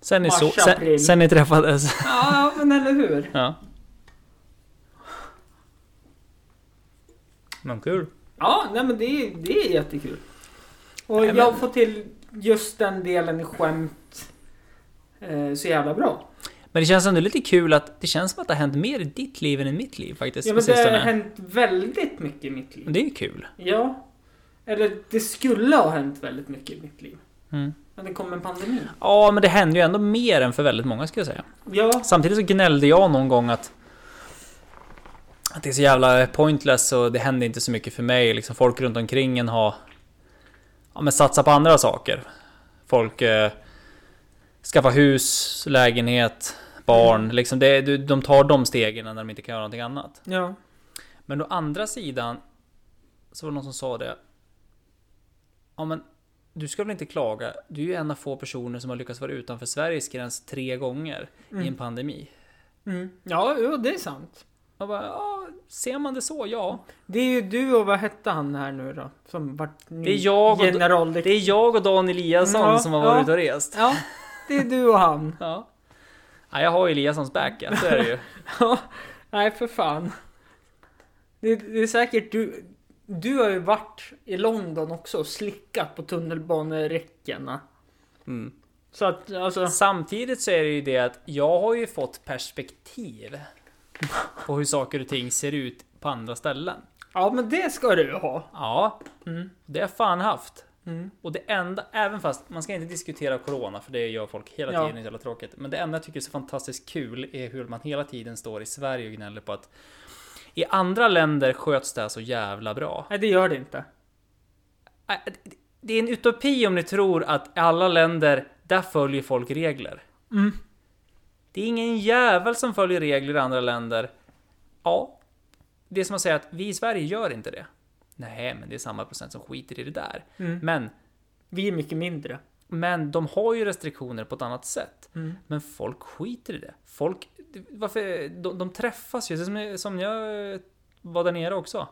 [SPEAKER 2] Sen ni,
[SPEAKER 1] Mars,
[SPEAKER 2] så, sen,
[SPEAKER 1] april.
[SPEAKER 2] sen ni träffades.
[SPEAKER 1] Ja, men eller hur?
[SPEAKER 2] Ja. Men kul.
[SPEAKER 1] Ja, nej men det, är- det är jättekul. Och
[SPEAKER 2] Nej, men-
[SPEAKER 1] jag får till just den delen i skämt eh, så jävla bra.
[SPEAKER 2] Men det känns ändå lite kul att det känns som att det har hänt mer i ditt liv än i mitt liv faktiskt.
[SPEAKER 1] Ja,
[SPEAKER 2] på
[SPEAKER 1] men det har
[SPEAKER 2] sistone.
[SPEAKER 1] hänt väldigt mycket i mitt liv.
[SPEAKER 2] det är ju kul.
[SPEAKER 1] Ja. Eller det skulle ha hänt väldigt mycket i mitt liv.
[SPEAKER 2] Mm.
[SPEAKER 1] Men det kom en pandemi.
[SPEAKER 2] Ja, men det händer ju ändå mer än för väldigt många ska jag säga.
[SPEAKER 1] Ja.
[SPEAKER 2] Samtidigt så gnällde jag någon gång att att det är så jävla pointless och det händer inte så mycket för mig. Liksom folk runt omkring en har ja, men satsa på andra saker. Folk eh, skaffar hus, lägenhet, barn. Liksom det, du- de tar de stegen när de inte kan göra någonting annat.
[SPEAKER 1] Ja.
[SPEAKER 2] Men å andra sidan så var det någon som sa det. Ja men du ska väl inte klaga. Du är ju en av få personer som har lyckats vara utanför Sveriges gräns tre gånger i en pandemi.
[SPEAKER 1] Mm. Ja, jo, det är sant.
[SPEAKER 2] Jag bara, ja, ser man det så, ja.
[SPEAKER 1] Det är ju du och vad hette han här nu då? Som vart ny
[SPEAKER 2] Det är jag och-
[SPEAKER 1] generaldirektör.
[SPEAKER 2] Det är jag och Dan Eliasson
[SPEAKER 1] Ja,
[SPEAKER 2] som har varit
[SPEAKER 1] ja.
[SPEAKER 2] ute och rest.
[SPEAKER 1] *laughs* Ja, det är du och han.
[SPEAKER 2] Ja. ja, jag har ju Eliassons back, ja, så är det ju.
[SPEAKER 1] *laughs* Ja, nej för fan. Det, det är säkert du. Du har ju varit i London också och slickat på tunnelbaneräckena.
[SPEAKER 2] *laughs* Mm.
[SPEAKER 1] Så att alltså.
[SPEAKER 2] Samtidigt så är det ju det att jag har ju fått perspektiv på hur saker och ting ser ut på andra ställen.
[SPEAKER 1] Ja men det ska du ju ha.
[SPEAKER 2] Ja,
[SPEAKER 1] Mm.
[SPEAKER 2] det har jag fan haft.
[SPEAKER 1] Mm.
[SPEAKER 2] Och det enda, även fast man ska inte diskutera corona för det gör folk hela
[SPEAKER 1] Ja.
[SPEAKER 2] tiden, det är så jävla tråkigt. Men det enda jag tycker är så fantastiskt kul är hur man hela tiden står i Sverige och gnäller på att i andra länder sköts det här så jävla bra.
[SPEAKER 1] Nej det gör det inte.
[SPEAKER 2] Äh, det- Det är en utopi om ni tror att alla länder, där följer folk regler.
[SPEAKER 1] Mm.
[SPEAKER 2] Det är ingen jävel som följer regler i andra länder. Ja, det är som att säga att vi i Sverige gör inte det. Nej, men det är samma procent som skiter i det där.
[SPEAKER 1] Mm.
[SPEAKER 2] Men
[SPEAKER 1] Vi är mycket mindre.
[SPEAKER 2] Men de har ju restriktioner på ett annat sätt.
[SPEAKER 1] Mm.
[SPEAKER 2] Men folk skiter i det. Folk, varför, de, de träffas ju, som, som jag var där nere också.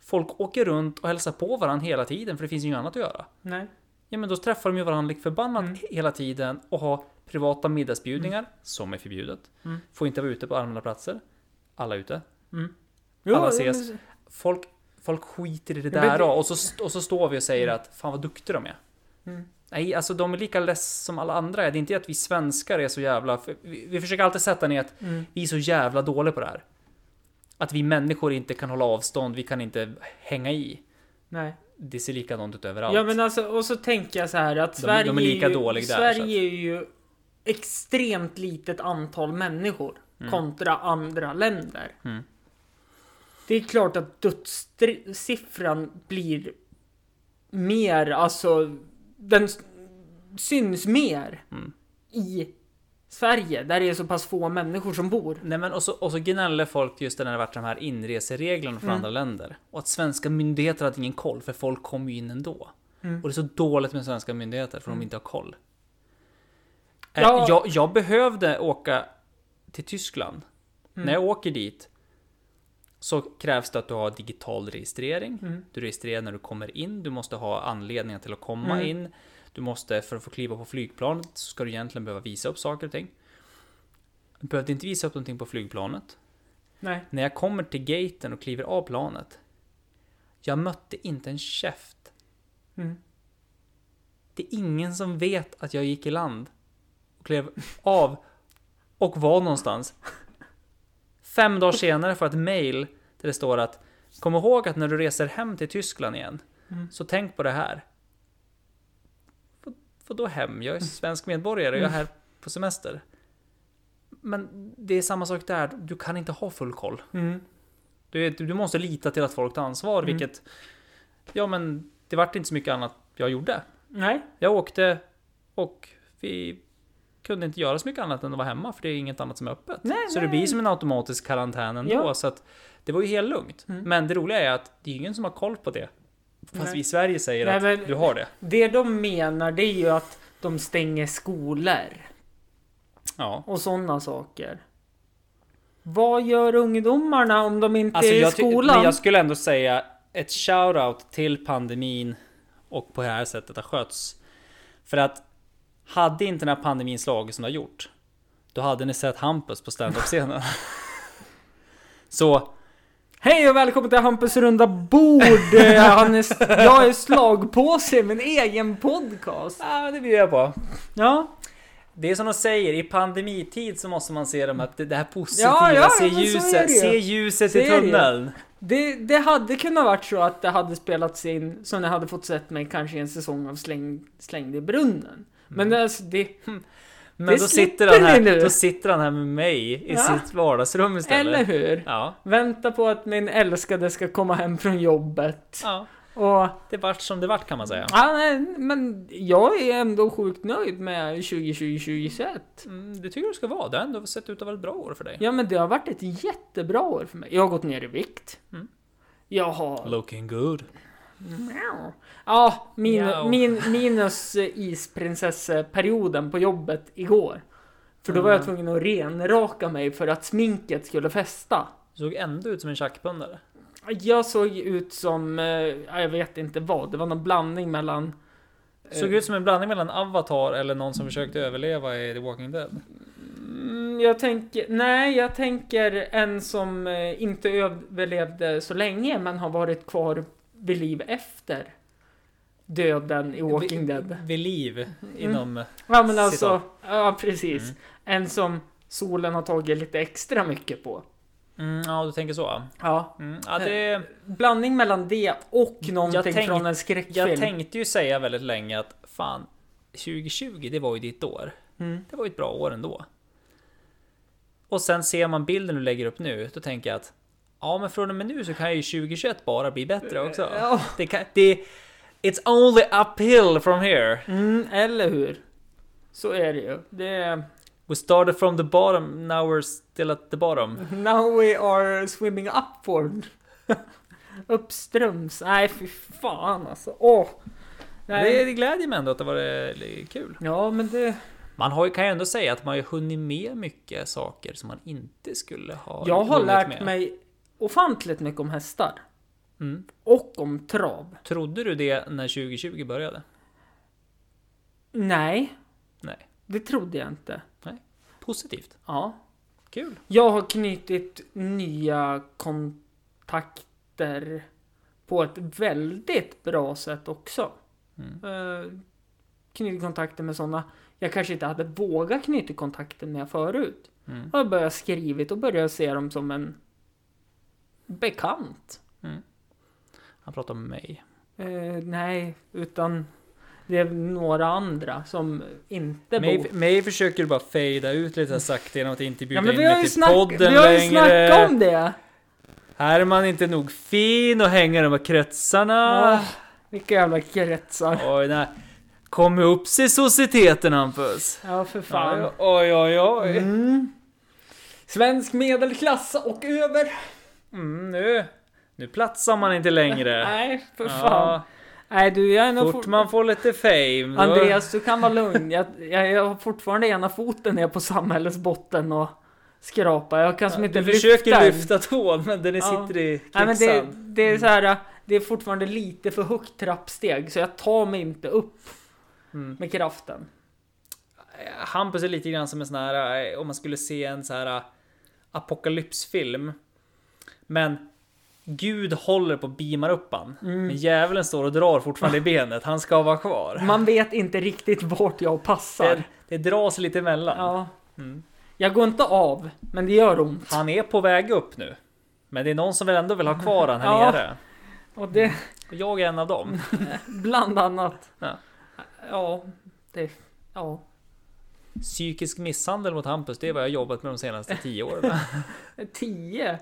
[SPEAKER 2] Folk åker runt och hälsar på varandra hela tiden för det finns ju inget annat att göra.
[SPEAKER 1] Nej.
[SPEAKER 2] Ja men då träffar de ju varandra lik förbannat
[SPEAKER 1] Mm.
[SPEAKER 2] hela tiden och har privata middagsbjudningar, som är förbjudet.
[SPEAKER 1] Mm.
[SPEAKER 2] Får inte vara ute på allmänna platser. Alla är ute.
[SPEAKER 1] Jo,
[SPEAKER 2] Alla ses.
[SPEAKER 1] men-
[SPEAKER 2] Folk, folk skiter i det
[SPEAKER 1] Ja, men
[SPEAKER 2] där
[SPEAKER 1] det-
[SPEAKER 2] då, och, så, och så står vi och säger att fan vad duktiga de är.
[SPEAKER 1] Mm.
[SPEAKER 2] Nej, alltså de är lika less som alla andra är. Det är inte att vi svenskar är så jävla... för Vi, vi försöker alltid sätta ner att
[SPEAKER 1] Mm.
[SPEAKER 2] vi är så jävla dåliga på det här. Att vi människor inte kan hålla avstånd, vi kan inte hänga i.
[SPEAKER 1] Nej.
[SPEAKER 2] Det ser likadant ut överallt.
[SPEAKER 1] Ja men alltså och så tänker jag så här att
[SPEAKER 2] De-
[SPEAKER 1] Sverige
[SPEAKER 2] de är lika
[SPEAKER 1] ju,
[SPEAKER 2] dålig där, så att-
[SPEAKER 1] Sverige är ju extremt litet antal människor kontra andra länder.
[SPEAKER 2] Mm.
[SPEAKER 1] Det är klart att dödssiffran blir mer, alltså den s- syns mer
[SPEAKER 2] Mm.
[SPEAKER 1] i Sverige där det är så pass få människor som bor.
[SPEAKER 2] Nej men och så, och så gnäller folk just när det har varit de här inresereglerna
[SPEAKER 1] Mm.
[SPEAKER 2] från andra länder. Och att svenska myndigheter hade ingen koll, för folk kom ju in ändå.
[SPEAKER 1] Mm.
[SPEAKER 2] Och det är så dåligt med svenska myndigheter, för de inte har koll. Eh,
[SPEAKER 1] Ja.
[SPEAKER 2] Jag, jag behövde åka till Tyskland.
[SPEAKER 1] Mm.
[SPEAKER 2] När jag åker dit så krävs det att du har digital registrering.
[SPEAKER 1] Mm.
[SPEAKER 2] Du registrerar när du kommer in, du måste ha anledningar till att komma
[SPEAKER 1] Mm.
[SPEAKER 2] in. Du måste, för att få kliva på flygplanet, så ska du egentligen behöva visa upp saker och ting. Du behövde inte visa upp någonting på flygplanet.
[SPEAKER 1] Nej.
[SPEAKER 2] När jag kommer till gaten och kliver av planet. Jag mötte inte en käft.
[SPEAKER 1] Mm.
[SPEAKER 2] Det är ingen som vet att jag gick i land. Och klev av. Och var någonstans. Fem dagar senare får jag ett mail. Där det står att Kom ihåg att när du reser hem till Tyskland igen.
[SPEAKER 1] Mm.
[SPEAKER 2] Så tänk på det här. Vad- Vadå hem?
[SPEAKER 1] Mm.
[SPEAKER 2] Jag är svensk medborgare. Jag är här på semester. Men det är samma sak där. Du kan inte ha full koll.
[SPEAKER 1] Mm.
[SPEAKER 2] Du, vet, du måste lita till att folk tar ansvar,
[SPEAKER 1] Mm.
[SPEAKER 2] vilket... Ja, men det vart inte så mycket annat jag gjorde.
[SPEAKER 1] Nej.
[SPEAKER 2] Jag åkte och vi kunde inte göra så mycket annat än att vara hemma, för det är inget annat som är öppet.
[SPEAKER 1] Nej,
[SPEAKER 2] så det
[SPEAKER 1] nej.
[SPEAKER 2] blir som en automatisk karantän ändå,
[SPEAKER 1] Ja.
[SPEAKER 2] så att det var ju helt lugnt.
[SPEAKER 1] Mm.
[SPEAKER 2] Men det roliga är att det är ingen som har koll på det. Fast
[SPEAKER 1] Nej.
[SPEAKER 2] vi i Sverige säger
[SPEAKER 1] Nej,
[SPEAKER 2] att
[SPEAKER 1] men-
[SPEAKER 2] du har det.
[SPEAKER 1] Det de menar det är ju att de stänger skolor
[SPEAKER 2] Ja.
[SPEAKER 1] och sådana saker. Vad gör ungdomarna om de inte
[SPEAKER 2] Alltså,
[SPEAKER 1] är i
[SPEAKER 2] jag, ty-
[SPEAKER 1] skolan?
[SPEAKER 2] men jag skulle ändå säga ett shout-out till pandemin och på det här sättet det sköts. För att hade inte den här pandemin slagit som det har gjort, då hade ni sett Hampus
[SPEAKER 1] *laughs*
[SPEAKER 2] på standup-scenen. Så
[SPEAKER 1] Hej och välkommen till Hampus runda
[SPEAKER 2] *laughs*
[SPEAKER 1] bord! Eh, Han är, s- jag är slagpåse med en egen podcast.
[SPEAKER 2] Ja, men det bjuder jag på.
[SPEAKER 1] Ja,
[SPEAKER 2] Det är som de säger, i pandemitid så måste man se de här, det här positiva,
[SPEAKER 1] Ja, ja,
[SPEAKER 2] se
[SPEAKER 1] men så är det ju.
[SPEAKER 2] ljuset, se ljuset
[SPEAKER 1] Så
[SPEAKER 2] i
[SPEAKER 1] är det ju.
[SPEAKER 2] tunneln.
[SPEAKER 1] Det, det hade kunnat varit så att det hade spelats in som ni hade fått sett mig kanske i en säsong av släng, Slängd i brunnen. Men det, alltså, det,
[SPEAKER 2] Mm. Hm. Men
[SPEAKER 1] Det
[SPEAKER 2] då sitter,
[SPEAKER 1] slipper
[SPEAKER 2] han här,
[SPEAKER 1] ni nu.
[SPEAKER 2] då sitter han här med mig i
[SPEAKER 1] Ja.
[SPEAKER 2] sitt vardagsrum istället.
[SPEAKER 1] eller hur?
[SPEAKER 2] Ja.
[SPEAKER 1] Vänta på att min älskade ska komma hem från jobbet.
[SPEAKER 2] ja.
[SPEAKER 1] Och,
[SPEAKER 2] Det vart som det vart kan man säga.
[SPEAKER 1] ja, nej, men jag är ändå sjukt nöjd med 2020-2021.
[SPEAKER 2] Mm, det tycker jag det ska vara. Det har ändå sett ut att vara ett bra år för dig.
[SPEAKER 1] Ja, men det har varit ett jättebra år för mig. Jag har gått ner i vikt.
[SPEAKER 2] Mm.
[SPEAKER 1] Jag har...
[SPEAKER 2] Looking good.
[SPEAKER 1] Ja, min,
[SPEAKER 2] Mjau.
[SPEAKER 1] min, minus eh, isprinsesseperioden på jobbet igår. För då var jag
[SPEAKER 2] Mm.
[SPEAKER 1] tvungen att renraka mig för att sminket skulle fästa.
[SPEAKER 2] Såg ändå ut som en tjackpundare.
[SPEAKER 1] Jag såg ut som, eh, ja, jag vet inte vad, det var någon blandning mellan...
[SPEAKER 2] Såg ut som en blandning mellan Avatar eller någon som försökte överleva i The Walking Dead.
[SPEAKER 1] Mm, jag tänker, nej jag tänker en som eh, inte överlevde så länge men har varit kvar vid liv efter döden i Walking Dead. Mm.
[SPEAKER 2] Vid liv inom... Mm.
[SPEAKER 1] Ja men alltså,
[SPEAKER 2] Citat.
[SPEAKER 1] ja precis. En som solen har tagit lite extra mycket på.
[SPEAKER 2] Mm, ja, du tänker så.
[SPEAKER 1] Ja.
[SPEAKER 2] Mm, ja,
[SPEAKER 1] Eh.
[SPEAKER 2] det...
[SPEAKER 1] Blandning mellan det och någonting
[SPEAKER 2] tänk-
[SPEAKER 1] från en
[SPEAKER 2] Jag
[SPEAKER 1] skräckfilm.
[SPEAKER 2] tänkte ju säga väldigt länge att fan, 2020 det var ju ditt år.
[SPEAKER 1] Mm.
[SPEAKER 2] Det var ju ett bra år ändå. Och sen ser man bilden du lägger upp nu, då tänker jag att ja men från och med nu så kan ju 2021 bara bli bättre också.
[SPEAKER 1] Ja.
[SPEAKER 2] Det kan, det, it's only uphill from here.
[SPEAKER 1] Mm, eller hur? Så är det ju. Det är...
[SPEAKER 2] We started from the bottom, now we're still at the bottom.
[SPEAKER 1] Now we are swimming upward. *laughs* Uppströms. Nej fy fan alltså. Åh.
[SPEAKER 2] Det,
[SPEAKER 1] Nej.
[SPEAKER 2] det glädjer mig ändå att det var eh, kul.
[SPEAKER 1] Ja men det...
[SPEAKER 2] Man har, ju- kan ju ändå säga att man har ju hunnit med mycket saker som man inte skulle ha
[SPEAKER 1] Jag har
[SPEAKER 2] hunnit
[SPEAKER 1] lärt
[SPEAKER 2] med.
[SPEAKER 1] mig ofantligt mycket om hästar.
[SPEAKER 2] Mm.
[SPEAKER 1] Och om trav.
[SPEAKER 2] Trodde du det när 2020 började?
[SPEAKER 1] Nej,
[SPEAKER 2] Nej.
[SPEAKER 1] det trodde jag inte.
[SPEAKER 2] Positivt.
[SPEAKER 1] Ja.
[SPEAKER 2] Kul.
[SPEAKER 1] Jag har knutit nya kontakter på ett väldigt bra sätt också.
[SPEAKER 2] Mm.
[SPEAKER 1] Eh, knutit kontakter med sådana jag kanske inte hade vågat knyta kontakter med förut.
[SPEAKER 2] Mm.
[SPEAKER 1] Jag har börjat skrivit och börjat se dem som en bekant.
[SPEAKER 2] Han pratar om mig.
[SPEAKER 1] Eh, nej, utan det är några andra som inte bor
[SPEAKER 2] mig. Mig försöker du bara fejda ut lite sakta genom att inte
[SPEAKER 1] Ja,
[SPEAKER 2] bjuda
[SPEAKER 1] men
[SPEAKER 2] in
[SPEAKER 1] vi har
[SPEAKER 2] mig
[SPEAKER 1] ju,
[SPEAKER 2] till
[SPEAKER 1] snack,
[SPEAKER 2] podden
[SPEAKER 1] vi har ju
[SPEAKER 2] längre.
[SPEAKER 1] snackat om det!
[SPEAKER 2] Här är man inte nog fin och hänger i de här kretsarna.
[SPEAKER 1] Ah, vilka jävla kretsar.
[SPEAKER 2] Oj, nej. Kom upp sig i societeten Hampus.
[SPEAKER 1] Ja, för fan.
[SPEAKER 2] Oj, Oj, oj, oj. Mm.
[SPEAKER 1] Mm. Svensk medelklass och över.
[SPEAKER 2] Mm, nu. Nu platsar man inte längre.
[SPEAKER 1] Nej, för
[SPEAKER 2] Ja,
[SPEAKER 1] fan. Nej, du, jag är nog
[SPEAKER 2] fort
[SPEAKER 1] for-
[SPEAKER 2] man får lite fame. då-
[SPEAKER 1] Andreas, du kan vara lugn. Jag, jag, jag har fortfarande ena foten ner på samhällets botten och skrapa. Jag kan som inte
[SPEAKER 2] Du
[SPEAKER 1] lyfta
[SPEAKER 2] försöker
[SPEAKER 1] den.
[SPEAKER 2] lyfta Mm. tån men den
[SPEAKER 1] Ja.
[SPEAKER 2] sitter i
[SPEAKER 1] Nej, men det,
[SPEAKER 2] kvicksand.
[SPEAKER 1] det är så här. Det är fortfarande lite för högt trappsteg så jag tar mig inte upp
[SPEAKER 2] Mm.
[SPEAKER 1] med kraften.
[SPEAKER 2] Hampus är lite grann som en sån här, eh, om man skulle se en sån här eh, apokalypsfilm. Men Gud håller på och beamar upp han. Men djävulen står och drar fortfarande i benet. Han ska vara *laughs* kvar.
[SPEAKER 1] Man vet inte riktigt vart jag passar.
[SPEAKER 2] Det, det dras lite emellan.
[SPEAKER 1] Ja.
[SPEAKER 2] Mm.
[SPEAKER 1] Jag går inte av, men det gör ont.
[SPEAKER 2] Han är på väg upp nu. Men det är någon som väl ändå vill ha kvar *laughs* han här
[SPEAKER 1] Ja.
[SPEAKER 2] nere.
[SPEAKER 1] Och det,
[SPEAKER 2] Och jag är en av dem.
[SPEAKER 1] Bland annat.
[SPEAKER 2] Ja.
[SPEAKER 1] Ja, det... Ja.
[SPEAKER 2] Psykisk misshandel mot Hampus, det är vad jag har jobbat med de senaste tio åren.
[SPEAKER 1] 10?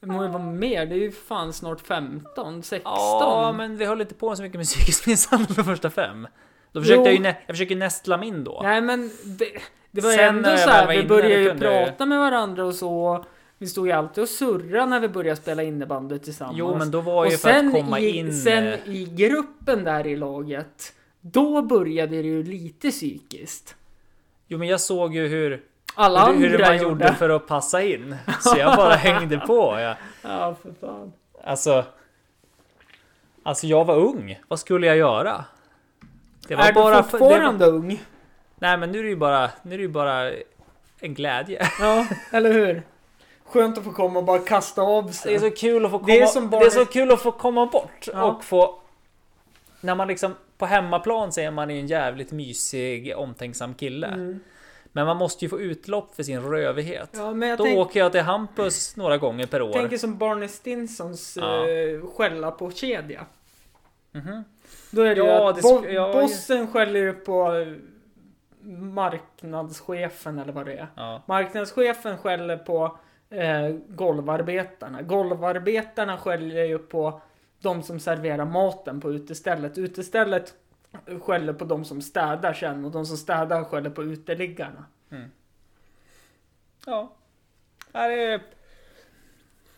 [SPEAKER 1] Det må ju vara mer. Det är ju fan snart 15, 16.
[SPEAKER 2] *laughs* Ja, men vi höll inte på så mycket med psykisk misshandel de första fem. Då försökte
[SPEAKER 1] Jo.
[SPEAKER 2] jag ju nä- jag försöker nästla min då.
[SPEAKER 1] Nej men det, det var ju
[SPEAKER 2] Sen
[SPEAKER 1] ändå
[SPEAKER 2] när jag
[SPEAKER 1] så
[SPEAKER 2] väl
[SPEAKER 1] här,
[SPEAKER 2] var
[SPEAKER 1] vi
[SPEAKER 2] inne,
[SPEAKER 1] började
[SPEAKER 2] då
[SPEAKER 1] ju
[SPEAKER 2] kunde jag ju-
[SPEAKER 1] prata med varandra och så. Vi stod ju alltid och surrade när vi började spela innebandy tillsammans.
[SPEAKER 2] Jo, men då var
[SPEAKER 1] och
[SPEAKER 2] ju för
[SPEAKER 1] sen
[SPEAKER 2] att komma
[SPEAKER 1] i,
[SPEAKER 2] in...
[SPEAKER 1] sen
[SPEAKER 2] eh,
[SPEAKER 1] i gruppen där i laget, då började det ju lite psykiskt.
[SPEAKER 2] Jo, men jag såg ju hur,
[SPEAKER 1] Alla
[SPEAKER 2] hur, hur
[SPEAKER 1] andra
[SPEAKER 2] man
[SPEAKER 1] gjorde.
[SPEAKER 2] gjorde för att passa in. Så jag bara hängde på. Jag,
[SPEAKER 1] Ja, för fan.
[SPEAKER 2] alltså... Alltså, jag var ung. Vad skulle jag göra? Det
[SPEAKER 1] är du
[SPEAKER 2] för- det var-
[SPEAKER 1] fortfarande ung?
[SPEAKER 2] Nej, men nu är det ju bara, nu är det ju bara en glädje.
[SPEAKER 1] Ja, eller hur? Skönt att få komma och bara kasta av
[SPEAKER 2] Det är
[SPEAKER 1] sig.
[SPEAKER 2] så kul att få komma,
[SPEAKER 1] Det är som barn-
[SPEAKER 2] det är så kul att få komma bort
[SPEAKER 1] Ja.
[SPEAKER 2] och få... När man liksom på hemmaplan ser man är en jävligt mysig, omtänksam kille.
[SPEAKER 1] Mm.
[SPEAKER 2] Men man måste ju få utlopp för sin rövighet.
[SPEAKER 1] Ja, men jag
[SPEAKER 2] Då
[SPEAKER 1] tänk,
[SPEAKER 2] åker jag till Hampus några gånger per år.
[SPEAKER 1] tänker som Barney Stinsons
[SPEAKER 2] Ja.
[SPEAKER 1] eh, skälla på kedja.
[SPEAKER 2] Mhm.
[SPEAKER 1] Då är det
[SPEAKER 2] Ja,
[SPEAKER 1] ju att
[SPEAKER 2] det
[SPEAKER 1] bo-
[SPEAKER 2] sk- ja,
[SPEAKER 1] bossen skäller ju på eh, marknadschefen eller vad det är.
[SPEAKER 2] Ja.
[SPEAKER 1] Marknadschefen skäller på eh, golvarbetarna. Golvarbetarna skäller ju på de som serverar maten på utestället. Utestället skäller på de som städar sen och de som städar skäller på uteliggarna.
[SPEAKER 2] ja. Ja, det är...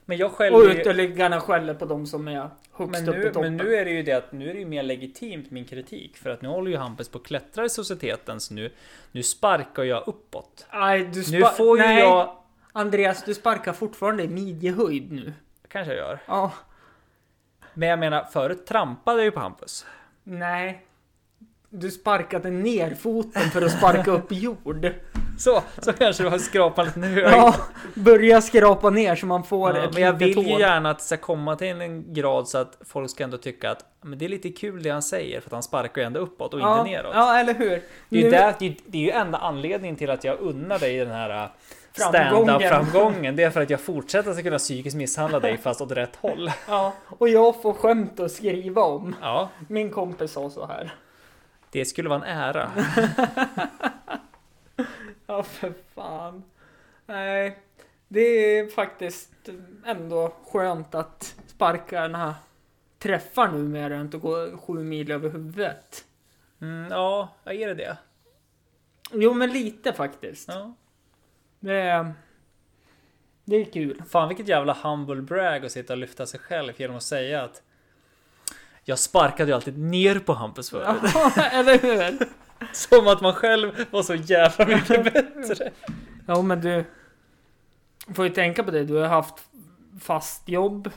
[SPEAKER 2] Men jag
[SPEAKER 1] Och
[SPEAKER 2] skäller ju...
[SPEAKER 1] uteliggarna skäller på de som är
[SPEAKER 2] Men
[SPEAKER 1] högst upp i
[SPEAKER 2] nu,
[SPEAKER 1] toppen.
[SPEAKER 2] men nu är det ju det att nu är det ju mer legitimt min kritik. För att nu håller ju Hampus på att klättra i societeten så nu, nu sparkar jag uppåt.
[SPEAKER 1] Nej, du
[SPEAKER 2] Nu
[SPEAKER 1] spa-
[SPEAKER 2] får ju
[SPEAKER 1] Nej,
[SPEAKER 2] jag...
[SPEAKER 1] Andreas, du sparkar fortfarande i midjehöjd nu.
[SPEAKER 2] Kanske jag gör.
[SPEAKER 1] Ja.
[SPEAKER 2] Men jag menar, förut trampade jag ju på Hampus.
[SPEAKER 1] Nej. Du sparkade ner foten för att sparka upp
[SPEAKER 2] *laughs*
[SPEAKER 1] jord.
[SPEAKER 2] Så, så kanske det var skrapan lite hög.
[SPEAKER 1] *laughs* Ja, börja skrapa ner så man får
[SPEAKER 2] Ja,
[SPEAKER 1] ett
[SPEAKER 2] men jag vill
[SPEAKER 1] litet
[SPEAKER 2] ju
[SPEAKER 1] hår.
[SPEAKER 2] gärna att det ska komma till en grad så att folk ska ändå tycka att men det är lite kul det han säger för att han sparkar ju ändå uppåt och
[SPEAKER 1] ja,
[SPEAKER 2] inte neråt.
[SPEAKER 1] Ja, eller hur?
[SPEAKER 2] Det är, ju
[SPEAKER 1] Nu-
[SPEAKER 2] där, det, är, ju- det är ju enda anledningen till att jag unnar dig den här äh,
[SPEAKER 1] Framgången.
[SPEAKER 2] stand-up-framgången. Det är för att jag fortsätter att kunna psykiskt misshandla dig fast åt
[SPEAKER 1] *laughs*
[SPEAKER 2] rätt håll.
[SPEAKER 1] Ja, och jag får skämt att skriva om.
[SPEAKER 2] Ja,
[SPEAKER 1] Min kompis sa så här.
[SPEAKER 2] det skulle vara en ära.
[SPEAKER 1] *laughs* Ja, för fan. Nej, det är faktiskt ändå skönt att sparkarna träffar numera och inte går sju mil över huvudet.
[SPEAKER 2] Mm, ja, ja, är det det?
[SPEAKER 1] Jo, men lite faktiskt.
[SPEAKER 2] Ja.
[SPEAKER 1] Det, är- det är kul.
[SPEAKER 2] Fan vilket jävla humble brag att sitta och lyfta sig själv genom att säga att jag sparkade ju alltid ner på Hampus förut.
[SPEAKER 1] *laughs* Ja, eller hur?
[SPEAKER 2] *laughs* Som att man själv var så jävla mycket bättre.
[SPEAKER 1] Ja, men du får ju tänka på det. Du har haft fast jobb.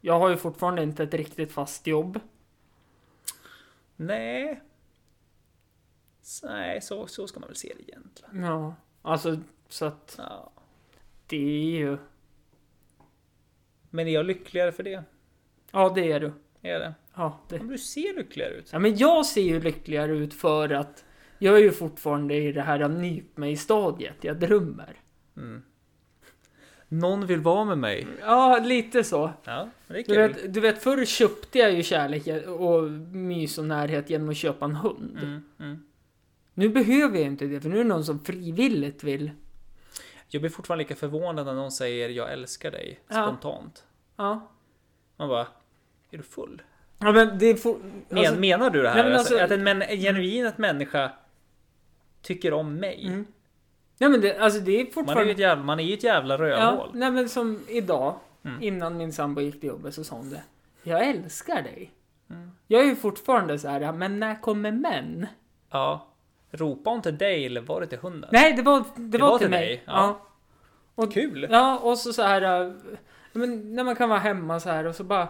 [SPEAKER 1] Jag har ju fortfarande inte ett riktigt fast jobb.
[SPEAKER 2] Nej. S- Nej, så, så ska man väl se det egentligen.
[SPEAKER 1] Ja, alltså så att
[SPEAKER 2] Ja.
[SPEAKER 1] det är ju.
[SPEAKER 2] Men är jag lyckligare för det?
[SPEAKER 1] Ja, det är du.
[SPEAKER 2] Är det?
[SPEAKER 1] Ja, det.
[SPEAKER 2] Om du ser lyckligare ut.
[SPEAKER 1] ja, men jag ser ju lyckligare ut för att jag är ju fortfarande i det här nyp mig stadiet. Jag drömmer.
[SPEAKER 2] Någon vill vara med mig.
[SPEAKER 1] Ja, lite så.
[SPEAKER 2] Ja, men det är
[SPEAKER 1] Du
[SPEAKER 2] kul.
[SPEAKER 1] vet, du vet, förr köpte jag ju kärlek och mys och närhet genom att köpa en hund.
[SPEAKER 2] Mm, mm.
[SPEAKER 1] Nu behöver jag inte det, för nu är det någon som frivilligt vill.
[SPEAKER 2] Jag blir fortfarande lika förvånad när någon säger jag älskar dig
[SPEAKER 1] Ja.
[SPEAKER 2] spontant.
[SPEAKER 1] Ja.
[SPEAKER 2] Man bara, är du full?
[SPEAKER 1] Ja, men det alltså- får...
[SPEAKER 2] Men, menar du det här?
[SPEAKER 1] nej, men
[SPEAKER 2] alltså,
[SPEAKER 1] alltså-
[SPEAKER 2] att en, men, en genuin att människa tycker om mig?
[SPEAKER 1] Mm. Nej, men det, alltså, det är
[SPEAKER 2] Man, är ju
[SPEAKER 1] fortfarande...
[SPEAKER 2] ett jävla, man är ju ett jävla
[SPEAKER 1] ja,
[SPEAKER 2] rövhål.
[SPEAKER 1] nej, men som idag,
[SPEAKER 2] Mm.
[SPEAKER 1] innan min sambo gick till jobbet, så sa hon det. Jag älskar dig.
[SPEAKER 2] Mm.
[SPEAKER 1] Jag är ju fortfarande så här, "Ja, men när kommer män?
[SPEAKER 2] Ja. Ropa hon till dig eller var det till hunden?
[SPEAKER 1] Nej, det var, det var, till, mig.
[SPEAKER 2] dig,
[SPEAKER 1] Ja.
[SPEAKER 2] ja.
[SPEAKER 1] Och,
[SPEAKER 2] Kul!
[SPEAKER 1] ja, och så så här... äh, Men, när man kan vara hemma så här och så bara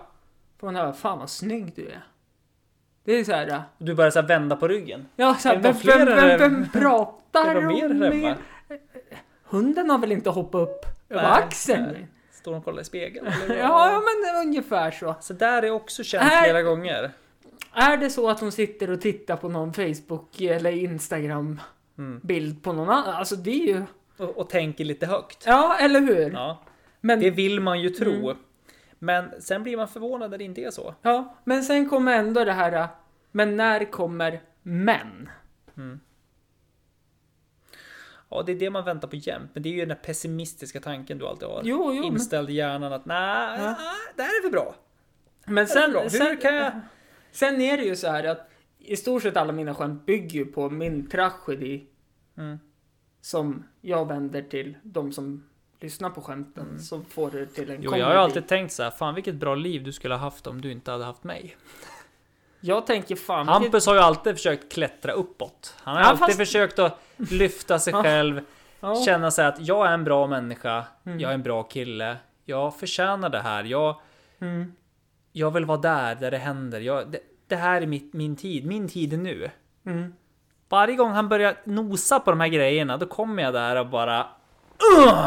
[SPEAKER 1] får man höra, fan vad snygg du är. Det är så här... äh,
[SPEAKER 2] Du börjar så här vända på ryggen.
[SPEAKER 1] Ja, så här,
[SPEAKER 2] Är det
[SPEAKER 1] vem,
[SPEAKER 2] någon
[SPEAKER 1] vem,
[SPEAKER 2] fler
[SPEAKER 1] vem,
[SPEAKER 2] eller- *laughs*
[SPEAKER 1] vem
[SPEAKER 2] Är
[SPEAKER 1] pratar
[SPEAKER 2] det mer
[SPEAKER 1] om
[SPEAKER 2] här
[SPEAKER 1] mer?
[SPEAKER 2] hemma?
[SPEAKER 1] Hunden har väl inte hoppat upp över
[SPEAKER 2] Nej,
[SPEAKER 1] axeln?
[SPEAKER 2] nej. Står hon och kollar
[SPEAKER 1] *laughs*
[SPEAKER 2] i spegeln? Eller?
[SPEAKER 1] Ja, men ungefär så.
[SPEAKER 2] Så där är också känt
[SPEAKER 1] Här-
[SPEAKER 2] flera gånger.
[SPEAKER 1] Är det så att hon sitter och tittar på någon Facebook eller Instagram
[SPEAKER 2] Mm.
[SPEAKER 1] bild på någon annan? Alltså det är ju...
[SPEAKER 2] Och, och tänker lite högt.
[SPEAKER 1] Ja, eller hur?
[SPEAKER 2] Ja.
[SPEAKER 1] Men,
[SPEAKER 2] Det vill man ju tro.
[SPEAKER 1] Mm.
[SPEAKER 2] Men sen blir man förvånad när det inte är så.
[SPEAKER 1] ja, men sen kommer ändå det här, äh, men när kommer män?
[SPEAKER 2] Ja, det är det man väntar på jämt. Men det är ju den där pessimistiska tanken du alltid har.
[SPEAKER 1] Jo, jo, men,
[SPEAKER 2] Inställd i hjärnan att nej,
[SPEAKER 1] Ja.
[SPEAKER 2] nej, det här är för bra.
[SPEAKER 1] men
[SPEAKER 2] Det här är för bra.
[SPEAKER 1] sen,
[SPEAKER 2] Hur
[SPEAKER 1] sen,
[SPEAKER 2] kan jag...
[SPEAKER 1] sen är det ju så här att i stort sett alla mina skämt bygger ju på min tragedi
[SPEAKER 2] Mm.
[SPEAKER 1] som jag vänder till de som lyssnar på skämten så får du till en
[SPEAKER 2] Mm. Jo, jag har
[SPEAKER 1] comedy.
[SPEAKER 2] alltid tänkt så här, fan vilket bra liv du skulle ha haft om du inte hade haft mig.
[SPEAKER 1] Jag tänker fan... vilket-
[SPEAKER 2] Hampus har ju alltid försökt klättra uppåt. Han har
[SPEAKER 1] Ja,
[SPEAKER 2] alltid
[SPEAKER 1] fast-
[SPEAKER 2] försökt att lyfta sig
[SPEAKER 1] Ja.
[SPEAKER 2] själv,
[SPEAKER 1] ja.
[SPEAKER 2] känna sig att jag är en bra människa,
[SPEAKER 1] Mm.
[SPEAKER 2] jag är en bra kille, jag förtjänar det här, jag,
[SPEAKER 1] Mm.
[SPEAKER 2] jag vill vara där, där det händer, jag, det, det här är mitt, min tid, min tid är nu.
[SPEAKER 1] Mm.
[SPEAKER 2] Varje gång han börjar nosa på de här grejerna, då kommer jag där och bara